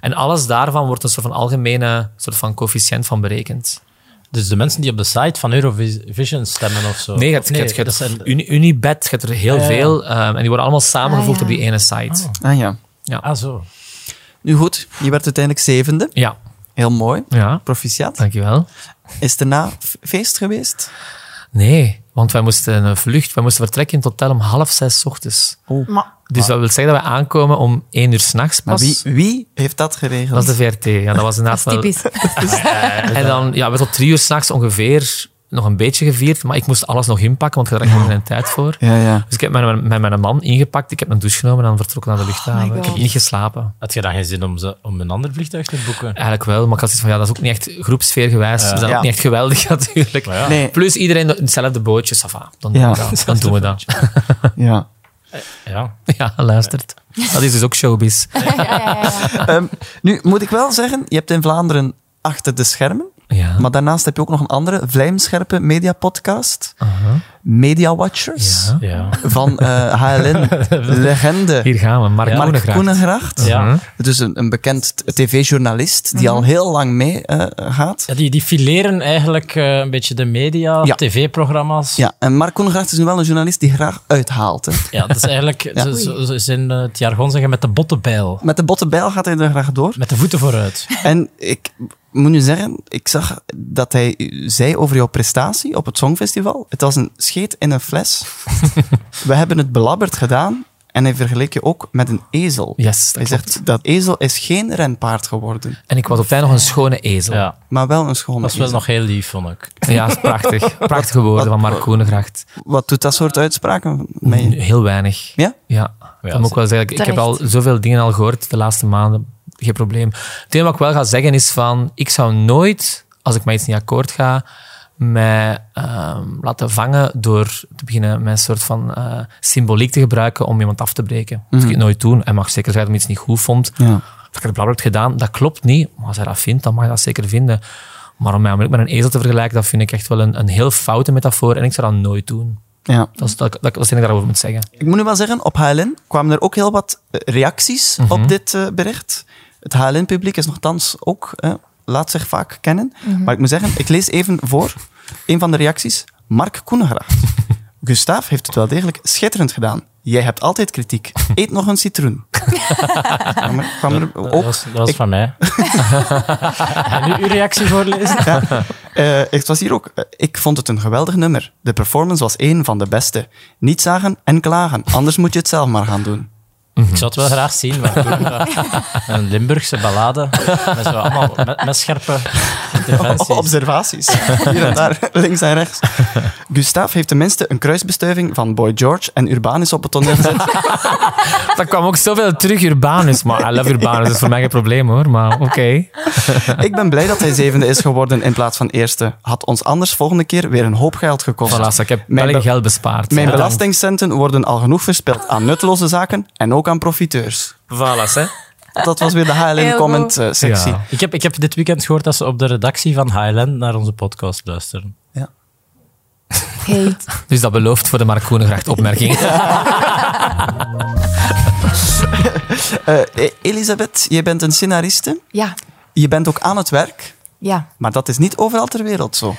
En alles daarvan wordt een soort van algemene soort van coëfficiënt van berekend.
Dus de mensen die op de site van Eurovision stemmen of zo.
Nee, je
Of
hebt, je hebt, je
dat
hebt
zijn-
Uni- Unibet, je hebt er heel
Ja, Oh. ja.
veel. ehm, en die worden allemaal samengevoegd
Ah, ja.
op die ene site.
Ah ja.
Ah, zo.
Nu goed, je werd uiteindelijk zevende.
Ja,
Heel mooi.
ja.
Proficiat.
Dankjewel.
Is het daarna f- feest geweest?
Nee, want wij moesten een vlucht, wij moesten vertrekken in totaal om half zes 's ochtends.
Maar
Dus dat wil zeggen dat wij aankomen om één uur s'nachts
Maar
pas.
wie, wie heeft dat
Dat
geregeld?
was de VRT. Ja, dat
[laughs] dat
was inderdaad
is
wel...
typisch.
[laughs] En dan, ja, we tot drie uur s'nachts ongeveer nog een beetje gevierd, maar ik moest alles nog inpakken, want ik had er echt nog geen tijd voor.
Ja, ja.
Dus ik heb met, met mijn man ingepakt, ik heb een douche genomen en dan vertrokken naar de luchthaven.
Oh my
ik heb
God.
niet geslapen.
Had je dan geen zin om, ze, om een ander vliegtuig te boeken?
Eigenlijk wel, maar ik had zoiets van, ja, dat is ook niet echt groepsfeergewijs. dus dat is
Ja.
ook niet echt geweldig, [laughs] natuurlijk.
Maar ja.
Nee,
Plus iedereen in hetzelfde bootje, safa. Dan,
Ja.
dan, dan doen we dat.
ja. [laughs]
Ja.
[laughs] Ja, luistert. Dat is dus ook showbiz.
ja, ja, ja, ja.
Ehm, nu moet ik wel zeggen, je hebt in Vlaanderen achter de schermen
Ja.
Maar daarnaast heb je ook nog een andere vlijmscherpe mediapodcast.
Aha.
Media Watchers.
Ja.
Ja.
Van eh,
[laughs]
HLN. Legende.
Hier gaan we. Mark
Ja.
Mark
Koenegracht.
Koenegracht.
Ja.
Dus een, een bekend t- tv-journalist die
Mhm.
al heel lang mee eh, gaat.
Ja, die, die fileren eigenlijk eh, een beetje de media,
Ja.
tv-programma's.
Ja, en Mark Koenegracht is nu wel een journalist die graag uithaalt. Hè.
Ja, dat is eigenlijk, ze, ze, ze- ze in eh, het jargon zeggen, met de bottenbijl.
Met de botte bijl gaat hij er graag door.
Met de voeten vooruit.
En ik moet nu zeggen, ik zag dat hij zei over jouw prestatie op het Songfestival. Het was een scheet in een
[laughs]
fles. We hebben het belabberd gedaan en hij vergeleek je ook met een ezel.
Yes,
hij
dat
zegt, dat ezel is geen renpaard geworden,
En ik was op het einde nog een schone ezel. Ja,
Ja,
maar wel een schone
dat is wel
ezel.
nog heel lief, vond ik.
is
[laughs]
prachtig. Prachtige woorden van Mark Koenegracht.
Wat doet dat soort uitspraken met je?
Heel weinig.
Ja?
Ja,
Ja,
dat moet ik wel zeggen. Ik heb al
terecht.
zoveel dingen al gehoord de laatste maanden. Geen probleem. Het enige wat ik wel ga zeggen is van... Ik zou nooit, als ik met iets niet akkoord ga, mij ehm, laten vangen door te beginnen met een soort van eh, symboliek te gebruiken om iemand af te breken. Dat kun je nooit doen. En mag zeker zijn dat je iets niet goed vond.
Ja.
Of ik het blabber heb gedaan, dat klopt niet. Maar als hij dat vindt, dan mag je dat zeker vinden. Maar om mij onmiddellijk met een ezel te vergelijken, dat vind ik echt wel een, een heel foute metafoor. En ik zou dat nooit doen.
Ja.
Dat is, dat, dat, dat is het enige dat ik daarover moet zeggen.
Ik moet nu wel zeggen, op HLN kwamen er ook heel wat eh, reacties
Mhm.
op dit eh, bericht. Het HLN-publiek is nogthans ook, eh, laat zich vaak kennen. Maar ik moet zeggen, ik lees even voor een van de reacties. Mark Koenegracht. Gustav heeft het wel degelijk schitterend gedaan. Jij hebt altijd kritiek. Eet nog een citroen. Kwam er- kwam er
Dat
ook,
was, dat was
ik-
van mij. en nu uw reactie voorlezen?
Eh, het was hier ook. eh, ik vond het een geweldig nummer. De performance was één van de beste. Niet zagen en klagen. Anders moet je het zelf maar gaan doen.
Ik zou het wel graag zien. Maar toen, eh, een Limburgse ballade. Met, zo allemaal, met, met scherpe interventies.
Oh. Observaties. [laughs] Hier en daar, links en rechts. Gustav heeft tenminste een kruisbestuiving van Boy George en Urbanus op het toneel [laughs] gezet.
Dat kwam ook zoveel terug, Urbanus. Maar I love Urbanus, dat is voor mij geen probleem hoor. Maar oké.
Ik ben blij dat hij zevende is geworden in plaats van eerste. Had ons anders volgende keer weer een hoop geld gekost.
Voilà, ik heb
Mijn
wel
be-
geld bespaard.
Mijn
Ja.
belastingcenten worden al genoeg verspild aan nutteloze zaken en ook aan profiteurs.
Voilà, hè.
Dat was weer de
Heel
HLN
goed.
comment eh, sectie.
Ja.
Ik heb, ik heb dit weekend gehoord dat ze op de redactie van Highland naar onze podcast luisteren.
Hey.
Dus dat belooft voor de Mark Koenegracht opmerking.
Eh, eh, Elisabeth, je bent een scenariste.
Ja,
Je bent ook aan het werk,
ja.
maar dat is niet overal ter wereld zo.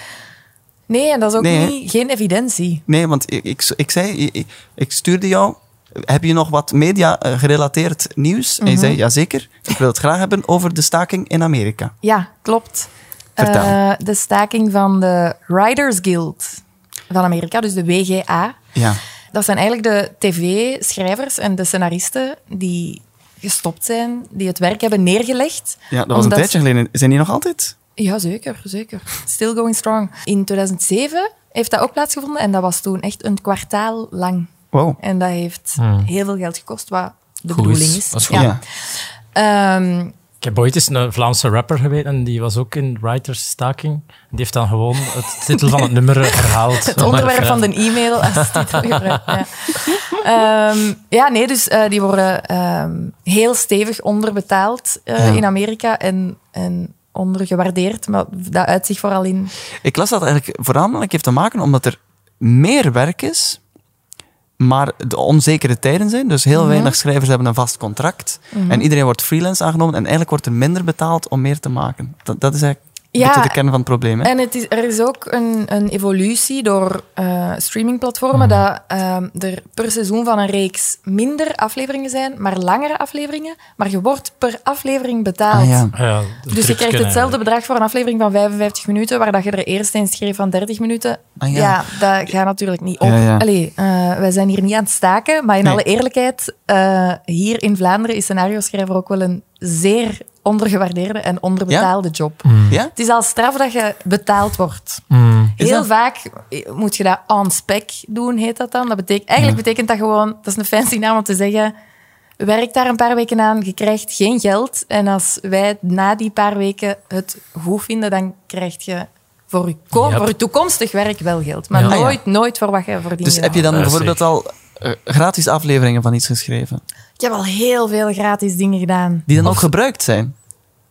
Nee, en dat is ook
Nee, hè?
niet, geen evidentie.
Nee, want ik, ik, ik zei, ik, ik stuurde jou. Heb je nog wat media-gerelateerd nieuws?
Mhm.
En je zei, jazeker. Ik wil het graag hebben over de staking in Amerika.
Ja, klopt.
Vertel.
Eh, de staking van de Riders Guild van Amerika, dus de WGA.
Ja.
Dat zijn eigenlijk de tv-schrijvers en de scenaristen die gestopt zijn, die het werk hebben neergelegd.
ja, dat was een
Omdat-
tijdje geleden. Zijn die nog altijd?
Ja, zeker, zeker. Still going strong. In 2007 heeft dat ook plaatsgevonden en dat was toen echt een kwartaal lang.
Wow.
En dat heeft heel veel geld gekost, wat de
Hmm. Goed is.
bedoeling is.
Dat is goed.
ja. Ehm,
Ik heb ooit eens een Vlaamse rapper geweten en die was ook in writers staking. Die heeft dan gewoon het
[laughs]
titel van het nummer herhaald.
het onderwerp van de e-mail
[laughs]
als titel gebruikt. Ja. Ehm, ja, nee, dus eh, die worden ehm, heel stevig onderbetaald eh,
Ja.
in Amerika en, en ondergewaardeerd. Maar dat uit zich vooral in...
Ik las dat eigenlijk voornamelijk heeft te maken omdat er meer werk is, maar de onzekere tijden zijn. Dus
Mhm.
heel weinig schrijvers hebben een vast contract. En iedereen wordt freelance aangenomen en eigenlijk wordt er minder betaald om meer te maken. Dat, dat is eigenlijk een
Ja.
beetje de kern van het probleem. Hè?
En het is, er is ook een, een evolutie door eh, streamingplatformen
Mm-hmm.
dat ehm, er per seizoen van een reeks minder afleveringen zijn, maar langere afleveringen. Maar je wordt per aflevering betaald.
Ah, ja.
eh, Ja,
Dus je krijgt hetzelfde bedrag voor een aflevering van 55 minuten, waar dat je er eerst in schreef van 30 minuten.
Ah, ja.
ja. dat gaat natuurlijk niet op.
Ja, ja.
Allee, eh, wij zijn hier niet aan het staken, maar in
Nee.
alle eerlijkheid, eh, hier in Vlaanderen is scenario-schrijver ook wel een zeer ondergewaardeerde en onderbetaalde job.
Ja?
Het is al straf dat je betaald wordt.
Is
Hmm.
Heel
dat-
vaak moet je dat on spec doen, heet dat dan. Dat betekent, eigenlijk betekent dat gewoon, dat is een fancy naam om te zeggen, werk daar een paar weken aan, je krijgt geen geld. En als wij na die paar weken het goed vinden, dan krijg je voor je, ko-
Ja.
voor je toekomstig werk wel geld. Maar
Ja.
Ah, ja.
nooit, nooit voor wat je verdient.
Dus heb je dan
Ja,
bijvoorbeeld al eh, gratis afleveringen van iets geschreven,
Ik heb al heel veel gratis dingen gedaan.
die dan ook gebruikt zijn?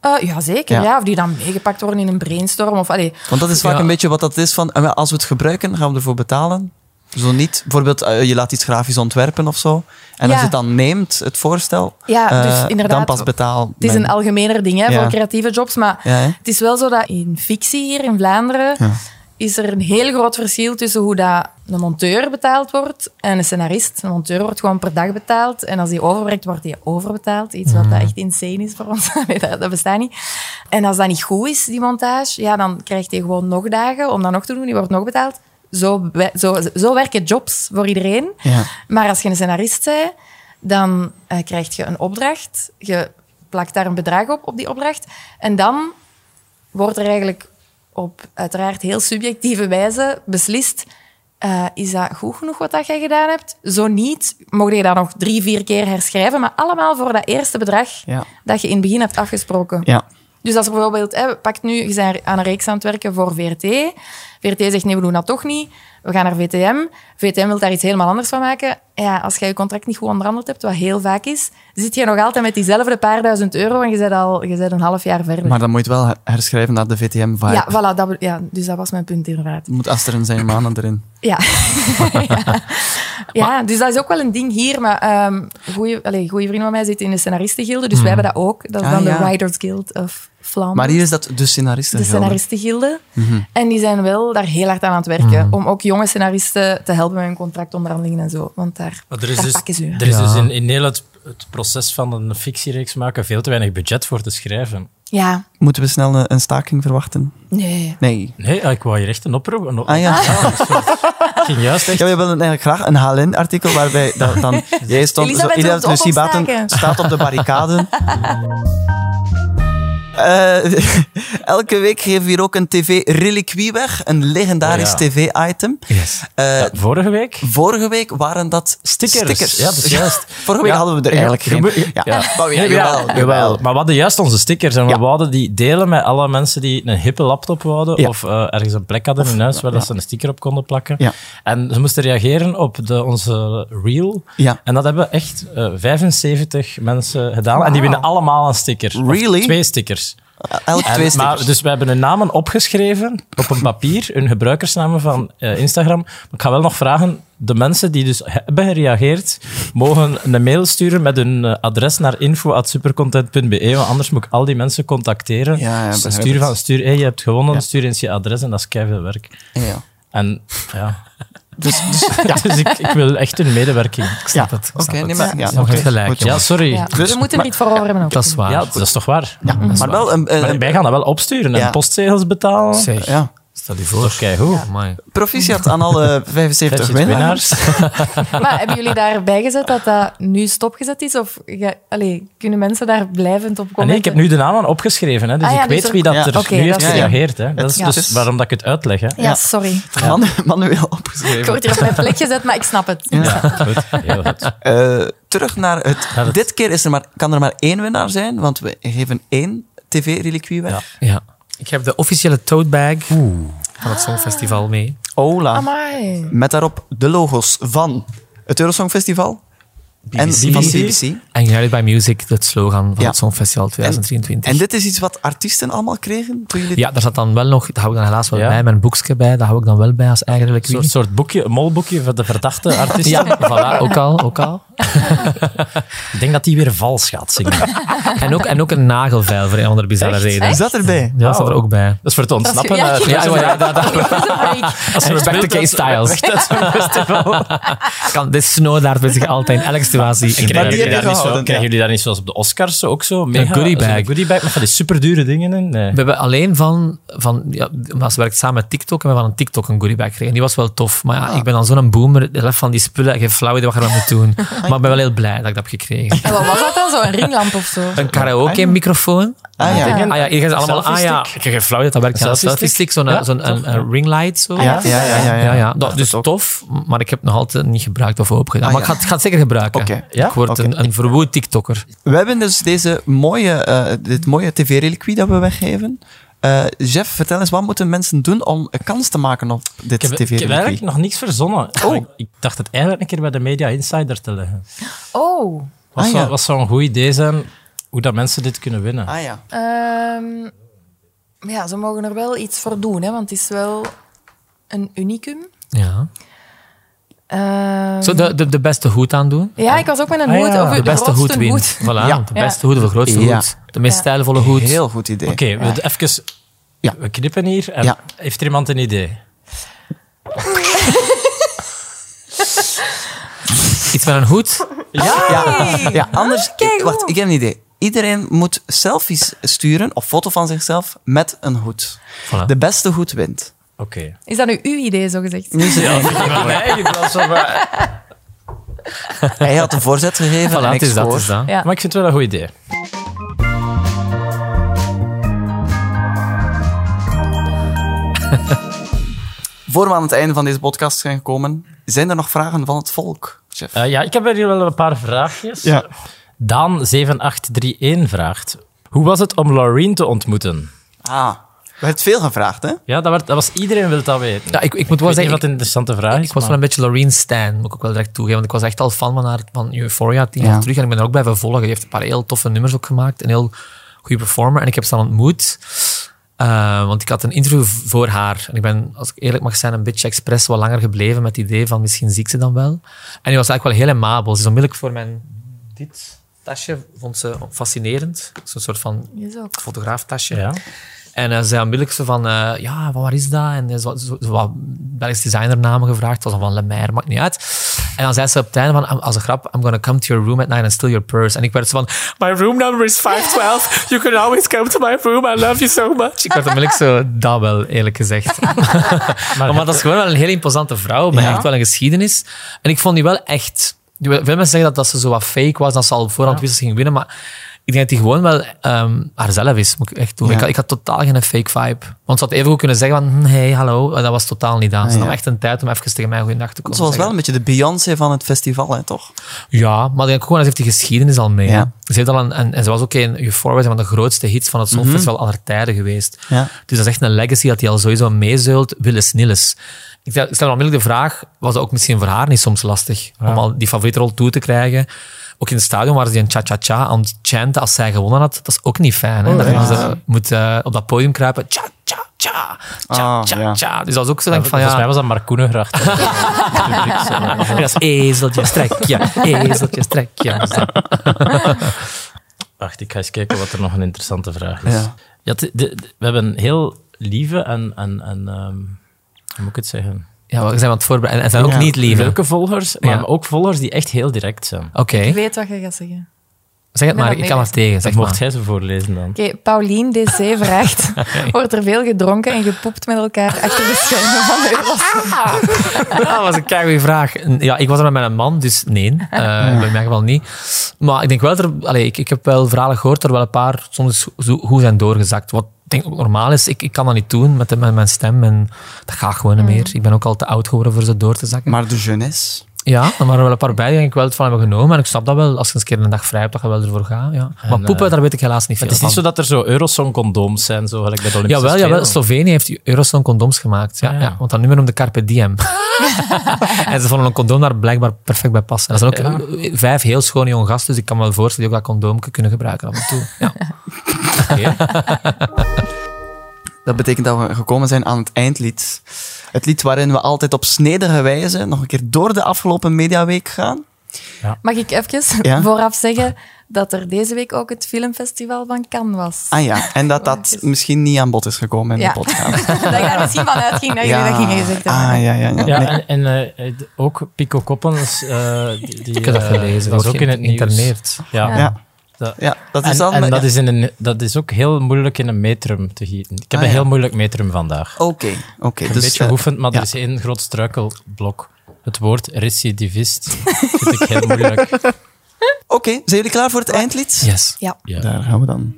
Eh, ja, zeker.
Ja.
Ja. Of die dan meegepakt worden in een brainstorm. Of, allee,
Want dat is vaak
Ja.
een beetje wat dat is van, eh, wel, als we het gebruiken, gaan we ervoor betalen. Zo niet. Bijvoorbeeld, eh, je laat iets grafisch ontwerpen of zo. En
Ja.
als je het dan neemt, het voorstel,
ja, dus
eh,
inderdaad.
dan pas betaal.
Het is
men.
een algemener ding hè,
Ja.
voor creatieve jobs, maar
Ja, hè?
het is wel zo dat in fictie hier in Vlaanderen
Ja.
is er een heel groot verschil tussen hoe dat een monteur betaald wordt en een scenarist. Een monteur wordt gewoon per dag betaald en als die overwerkt, wordt die overbetaald. Iets
Mhm.
wat dat echt insane is voor ons. [laughs] Nee, dat, dat bestaat niet. En als dat niet goed is, die montage, ja, dan krijgt hij gewoon nog dagen om dat nog te doen. Die wordt nog betaald. Zo, we- zo, zo werken jobs voor iedereen.
Ja.
Maar als je een scenarist bent, dan eh, krijg je een opdracht. Je plakt daar een bedrag op, op die opdracht. En dan wordt er eigenlijk op uiteraard heel subjectieve wijze beslist... eh, is dat goed genoeg wat dat jij gedaan hebt? Zo niet, mocht je dat nog drie, vier keer herschrijven. Maar allemaal voor dat eerste bedrag
Ja.
dat je in het begin hebt afgesproken.
Ja.
Dus als er bijvoorbeeld, hè, pakt nu, je bent aan een reeks aan het werken voor VRT. VRT zegt nee, we doen dat toch niet. We gaan naar VTM. VTM wil daar iets helemaal anders van maken. Ja, als jij je contract niet goed onderhandeld hebt, wat heel vaak is, zit je nog altijd met diezelfde paar duizend euro en je bent al je bent een half jaar verder.
Maar dan moet je het wel her- herschrijven naar de VTM-vibe.
ja, voilà, dat, be- ja, dus dat was mijn punt inderdaad.
Er moet Aster en zijn manen
[laughs]
erin. [laughs]
Ja. ja. Ja, dus dat is ook wel een ding hier. Maar ehm goede vrienden van mij zitten in de scenaristengilde, dus wij hebben dat ook. Dat is
Ah,
dan
ja.
de Writers Guild of Vlaanderen.
Maar hier is Mhm. dat de
de
scenaristen.
scenaristengilde. En die zijn wel daar heel hard aan aan het werken.
Hmm.
Om ook jonge scenaristen te helpen met hun contractonderhandelingen en zo. Want daar,
Maar er is
daar
dus,
pakken ze hun.
er is dus in, in heel het, het proces van een fictiereeks maken veel te weinig budget voor te schrijven.
Ja,
Moeten we snel eh, een, een staking verwachten?
nee.
Nee.
Nee, ah, ik wou hier echt een oproep. Een op-
Ah
[laughs]
ja.
ik ging juist echt.
Ja, we willen eigenlijk graag een HLN-artikel waarbij dat
[laughs]
dan jij stond,
Elisabeth wil
Elisabeth
het
Lucie
opstaken.
Baten staat op de
[laughs]
barricade. Eh, [laughs] elke week geven we hier ook een tv-reliquie weg, een legendarisch
Oh ja.
tv-item. Eh,
Ja, vorige week?
Vorige week waren dat stickers.
Stickers. Ja, dat
[laughs]
is juist.
Vorige week
Ja.
hadden we er eigenlijk
Ja,
geen.
gebe-
Ja.
ja.
[laughs] Maar ja,
Ja,
jawel,
jawel. Maar we hadden juist onze stickers en we
Ja.
wouden die delen met alle mensen die een hippe laptop wouden
Ja.
of eh, ergens een plek hadden in huis waar dat ze een sticker op konden plakken.
Ja.
En ze moesten reageren op de, onze reel.
Ja.
En dat hebben echt eh, 75 mensen gedaan. En die
Wauw.
winnen allemaal een sticker. Of
Really?
twee stickers.
Elk
En-
twee stickers.
Maar, dus we hebben hun namen opgeschreven op een papier, hun gebruikersnamen van eh, Instagram. Maar ik ga wel nog vragen, de mensen die dus hebben gereageerd, mogen een mail sturen met hun eh, adres naar info.supercontent.be, want anders moet ik al die mensen contacteren.
Ja, ja,
Dus
begrijp
stuur
het.
van, stuur, hey, je hebt gewonnen, stuur eens je adres en dat is keiveel werk.
Ja.
En
[laughs]
ja... Dus, [laughs] dus ik, ik wil echt hun medewerking.
Ik snap het. ik
Oké,
snap het.
nee, maar... Ja,
Nog
oké,
eens gelijk,
goed.
Ja, sorry.
Ja.
Dus-
we moeten er iets voor over hebben. Ook.
Dat is waar.
Ja, dat is toch waar?
Ja, Maar wel een... een-
Maar wij gaan dat wel opsturen en
Ja.
postzegels betalen.
Zeg, Oh,
ja.
stel je
Dat
voor.
is keigoed.
Amai.
Proficiat aan
[laughs]
alle 75 winnaars.
Maar hebben jullie daarbij gezet dat dat nu stopgezet is? Of ge- allee, kunnen mensen daar blijvend op
Ah,
komen?
nee, ik heb nu de namen opgeschreven, hè, dus
Ah ja,
ik
dus
weet
er-
wie dat
Ja.
er
Oké,
nu
dat
heeft
is-
gereageerd. Hè. Dat is
Ja.
dus waarom dat ik het uitleg. Hè.
Ja, sorry.
Manu- Manueel
Ik
opgeschreven.
word hier op mijn plek gezet, maar ik snap het.
Ja, goed. Heel goed.
Eh, terug naar het...
dat-
Dit keer is er maar, kan er maar één winnaar zijn, want we geven één tv-reliquie weg.
Ja. Ik heb de officiële tote bag van het Songfestival mee.
Ola.
Amai.
Met daarop de logo's van het Eurosongfestival en
BBC.
van BBC.
En United by Music, het slogan van
Ja.
het Songfestival 2023.
En dit is iets wat artiesten allemaal kregen toen jullie...
ja, daar zat dan wel nog, dat hou ik dan helaas wel
Ja.
bij, mijn boekje bij, dat hou ik dan wel bij als eigenlijk
Een soort, soort boekje, een molboekje van de verdachte artiest.
Ja, voilà, ook al, ook al.
Ik denk dat die weer vals gaat zingen. Dat
En ook, en ook een nagelvijl voor een andere bizarre reden.
Is dat erbij?
Ja, dat zat er ook bij.
is voor het ontsnappen. eh,
Ja,
uit-
Ja, ja, ja,
[laughs]
dat-
Dat is een break.
Als we back to K Styles. [laughs] Kan dit snowdaard met zich altijd in elke situatie.
Krijgen
die
jullie
heb
daar
je
niet zo-
gehouden,
Krijgen jullie daar niet zoals op de Oscars zo ook zo? mega-
goodie bag.
zo'n goodie bag met van die superdure dingen in? Nee.
We hebben alleen van, van ja, maar ze werkt samen met TikTok en we hebben van een TikTok een goodiebag gekregen. Die was wel tof, maar ja, ik ben dan zo'n boomer, de helft van die spullen, geen flauw idee wat je ermee moet doen. Maar ik ben wel heel blij dat ik dat heb gekregen.
En wat was dat dan? Zo'n ringlamp of zo?
Een karaoke-microfoon.
Ah ja.
Ah ja, hier gaan ze allemaal, ah ja, ik
Selfie-stick.
heb geen flauw idee dat dat werkt. Ja,
Selfie-stick.
selfie-stick, zo'n eh,
Ja,
zo'n- een, een ringlight zo.
Ja, ja, ja. ja, ja.
Ja, ja. Dat, dus tof, maar ik heb het nog altijd niet gebruikt of opgedaan.
Ah,
maar ik
ja.
ga, het- ik ga het zeker gebruiken.
Oké.
Ik word
Oké.
een, een verwoed TikToker.
We hebben dus deze mooie, eh, dit mooie tv-reliquie dat we weggeven. Eh, Jeff, vertel eens, wat moeten mensen doen om een kans te maken op dit
Ik heb, ik heb
tv-reliquie?
eigenlijk nog niks verzonnen.
Oh.
Maar Ik, ik dacht het eigenlijk een keer bij de Media Insider te leggen.
Oh.
Wat,
Ah,
zou,
ja.
wat zou een goed idee zijn? Hoe dat mensen dit kunnen winnen.
Ah ja.
Ehm, maar ja, ze mogen er wel iets voor doen, hè, want het is wel een unicum.
Ja.
Ehm,
Zo de, de, de beste hoed aandoen.
ja, ik was ook met een
Ah,
hoed.
ja.
Of
De beste hoed
grootste
wint. Voilà,
Ja.
de beste hoed, de grootste
Ja.
hoed. De meest
Ja.
stijlvolle hoed.
Heel goed idee.
Oké, we- even...
Ja.
We knippen hier. En
Ja.
Heeft er iemand een idee?
Iets met een
[laughs]
hoed.
Ja, ja, ja anders.
Kijk,
wacht,
hoe?
ik heb een idee. Iedereen moet selfies sturen of foto van zichzelf met een hoed.
Voilà.
De beste hoed wint.
Oké.
Is dat nu uw idee, zo gezegd?
Nee, ik was zo maar-
[laughs] Hij had een voorzet gegeven.
Voilà,
en ik
het is dat,
scoor.
het is dat.
Ja.
Maar ik vind het wel een goed idee.
Voor we aan het einde van deze podcast zijn gekomen, zijn er nog vragen van het volk, chef?
Eh, ja, ik heb hier wel een paar vraagjes.
Ja.
Daan7831 vraagt... Hoe was het om Laureen te ontmoeten?
Ah, er werd veel gevraagd, hè?
Ja, dat, werd, dat was iedereen wil dat weten.
Ja, ik, ik moet
Ik weet
wel
niet
zeggen,
wat
ik,
een interessante vraag is.
ik was wel
maar-
een beetje Laureen Stan, moet ik ook wel direct toegeven. Want ik was echt al fan van haar, van Euphoria, tien
Ja.
jaar terug. En ik ben haar ook blijven volgen. Die heeft een paar heel toffe nummers ook gemaakt. Een heel goede performer. En ik heb ze dan ontmoet. eh, want ik had een interview v- voor haar. En ik ben, als ik eerlijk mag zijn, een beetje expres wat langer gebleven met het idee van misschien zie ik ze dan wel. En die was eigenlijk wel heel amabel. Ze is onmiddellijk voor mijn dit tasje, vond ze fascinerend. Zo'n soort van
Is ook.
fotograaftasje.
Ja.
En eh, ze zei onmiddellijk zo van, eh, ja, wat, waar is dat? En eh, zo, zo, zo wat Belgisch designernamen gevraagd. Het was dan van Lemaire, maakt niet uit. En dan zei ze op het einde van, "I'm- als een grap, I'm gonna come to your room at night and steal your purse. En ik werd zo van, my room number is 512. You can always come to my room. I love you so much. Ik werd onmiddellijk zo, dat wel, eerlijk gezegd.
Maar,
Maar dat is gewoon wel een heel imposante vrouw, maar echt wel een geschiedenis. En ik vond die wel echt... die- Veel mensen zeggen dat, dat ze zo wat fake was, dat ze al voorhand wist dat ze ging winnen, maar ik denk dat die gewoon wel ehm, haarzelf is, moet ik echt doen.
Ja.
Ik, had, ik had totaal geen fake vibe. Want ze had even goed kunnen zeggen van, "Hm, hey, hallo, dat was totaal niet aan. Ze
Ah, ja.
nam echt een tijd om even tegen mij goeiedag te komen
Ze was wel
zeggen.
een beetje de Beyoncé van het festival, hè, toch?
Ja, maar ik denk ook gewoon, ze heeft die geschiedenis al mee.
Ja.
hè. Ze heeft al een, een- en ze was ook in Euphoria, een van de grootste hits van het Songfestival aller tijden geweest.
Mhm. Ja.
Dus dat is echt een legacy dat hij al sowieso meezeult, Willis Nilles. Ik stel, ik stel me onmiddellijk de vraag, was dat ook misschien voor haar niet soms lastig? Om al die favoriete rol toe te krijgen. Ook in het stadion waar ze die een cha-cha-cha aan het chanten als zij gewonnen had. Dat is ook niet fijn.
Oh,
Hè? dat je ze moet eh, op dat podium kruipen. Cha-cha-cha,
Ah, ja.
cha-cha-cha. Dus dat is ook zo denk ik van,
volgens
ja...
mij was dat Marcoenegracht.
En [laughs] dat is ezeltje, strekje, ezeltje,
[laughs]
strekje.
[laughs] Wacht, ik ga eens kijken wat er nog een interessante vraag is.
Ja.
Ja, de- de- de- we hebben een heel lieve en, en, en ehm, hoe moet ik het zeggen?
Ja, we zijn we aan het voorbereiden. En zijn ook
Ja.
niet lieve. Oké.
Leuke volgers, maar
Ja.
ook volgers die echt heel direct zijn.
Ik weet wat je gaat zeggen.
Zeg het
ben
maar,
dat
ik kan
mee
maar tegen. Zeg
Dat mocht
maar.
[laughs] jij ze voorlezen dan.
Oké, Paulien DC
[laughs]
vraagt: Wordt er veel gedronken en gepoept met elkaar achter de schermen van de
Dat was een keigoede vraag. Ja, ik was er met mijn man, dus nee. Eh
[laughs]
Bij mij geval niet. Maar ik denk wel, dat er, allee, ik, ik heb wel verhalen gehoord dat er wel een paar soms zo goed zijn doorgezakt. Wat ik denk ook normaal is, ik, ik kan dat niet doen met, de- met mijn stem. En dat gaat gewoon niet
Mm.
meer. Ik ben ook al te oud geworden voor zo door te zakken.
Maar de jeunesse.
Ja, er waren wel een paar bij die ik wel het van hebben genomen. En ik snap dat wel. Als je eens een keer een dag vrij hebt, dat je wel ervoor gaat. Ja. maar poepen, daar weet ik helaas niet veel
Het is
van.
niet zo dat er zo Eurosong-condooms zijn, zo gelijk bij de Olympische
Jawel, jawel,
Spelen.
Slovenië heeft Eurosong condooms gemaakt. Ja,
Ah,
ja.
ja.
want dat nummer noemde
[laughs]
Carpe Diem. en ze vonden een condoom daar blijkbaar perfect bij passen. En er zijn ook eh, vijf heel schone jonge gasten, dus ik kan me wel voorstellen die ook dat condoom kunnen gebruiken af en toe.
[laughs]
Ja.
Dat betekent dat we gekomen zijn aan het eindlied. Het lied waarin we altijd op snedige wijze nog een keer door de afgelopen mediaweek gaan.
Mag ik even
[laughs] Ja.
vooraf zeggen dat er deze week ook het filmfestival van Cannes was?
Ah ja, en dat dat misschien niet aan bod is gekomen in
Ja.
de
[laughs]
podcast.
Dat ik daar misschien van uitging dat jullie dat gingen gezegd hebben.
Ah ja, ja, ja.
Ja,
Nee.
en, en eh, eh, ook Pico Koppens. eh, die, die,
Ik heb dat
eh,
gelezen.
Dat is ook in het nieuws.
internet.
Ja.
Ja.
Ja.
Dat-
Ja, dat is
en,
dan...
en dat,
ja.
is in een, dat is ook heel moeilijk in een metrum te gieten. Ik heb
Ah, ja.
een heel moeilijk metrum vandaag.
Oké, oké.
Een
dus,
beetje
eh,
geoefend, maar
ja.
er is één groot struikelblok. Het woord recidivist vind ik heel moeilijk.
Oké, zijn jullie klaar voor het eindlied?
Yes.
Ja.
Ja.
Daar gaan we dan.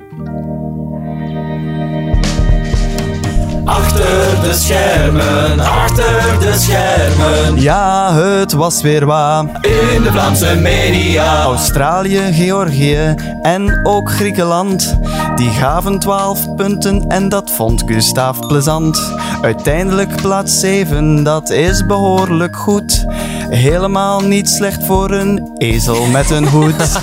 Achter de schermen, achter de schermen,
Ja, het was weer waar.
in de Vlaamse media.
Australië, Georgië en ook Griekenland. Die gaven 12 punten en dat vond Gustav plezant. Uiteindelijk plaats 7, dat is behoorlijk goed. Helemaal niet slecht voor een ezel met een hoed.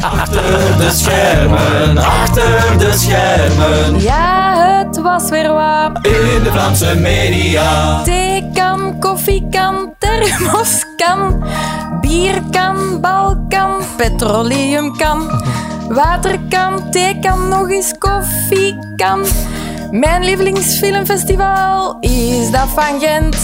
Achter de schermen, achter de schermen.
Ja, het was weer wat.
In de Vlaamse media.
Theekan, koffiekan, thermoskan, bierkan, balkan, petroleumkan, waterkan, theekan, nog eens koffiekan. Mijn lievelingsfilmfestival is dat van Gent.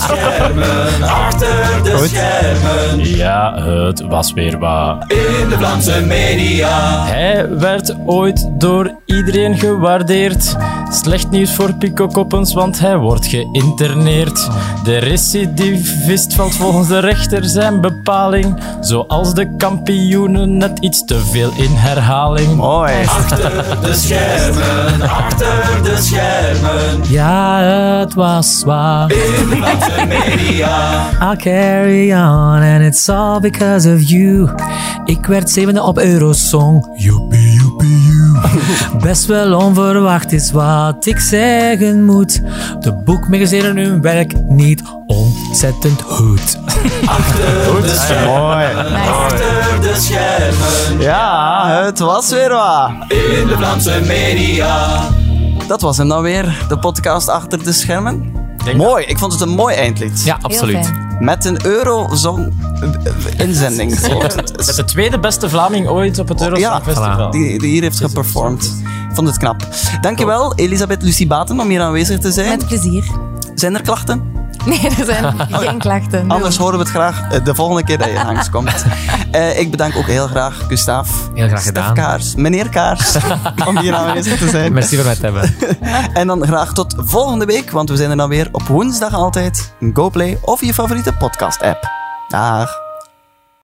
Schermen, achter de schermen.
Ja, het was weer wat.
In de Vlaamse media.
Hij werd ooit door iedereen gewaardeerd. Slecht nieuws voor Pico Koppens, want hij wordt geïnterneerd. De recidivist valt volgens de rechter zijn bepaling. Zoals de kampioenen net iets te veel in herhaling.
Mooi.
Achter de schermen, achter de schermen.
Ja, het was waar.
In de Vlaamse media.
I'll carry on and it's all because of you. Ik werd zevende op Eurosong. Joepie, joepie, joe. [laughs] Best wel onverwacht is wat ik zeggen moet. De boekmakers deden hun werk niet ontzettend goed.
Goed, mooi.
Achter de schermen,
Ja, het was weer wat.
in de Vlaamse media.
Dat was hem dan weer, de podcast achter de schermen. mooi, ik vond het een mooi eindlied.
Ja,
Heel
absoluut.
fijn.
Met een eh,
[laughs]
Eurozone-inzending.
Met de tweede beste Vlaming ooit op het Eurosong
Ja,
Festival.
die, die hier heeft geperformd. Ik vond het knap. Dankjewel, Elisabeth Lucie Baten, om hier aanwezig te zijn.
Met plezier.
Zijn er klachten?
Nee, er zijn geen klachten.
Anders horen we het graag eh, de volgende keer dat
[laughs]
je langskomt. Eh ik bedank ook heel graag Gustav.
Heel graag
Stef
gedaan.
Kaars, meneer
[laughs]
Kaars, om hier aanwezig te zijn.
Merci voor het hebben.
En dan graag tot volgende week, want we zijn er dan weer op woensdag altijd. Go Play of je favoriete podcast-app. Dag.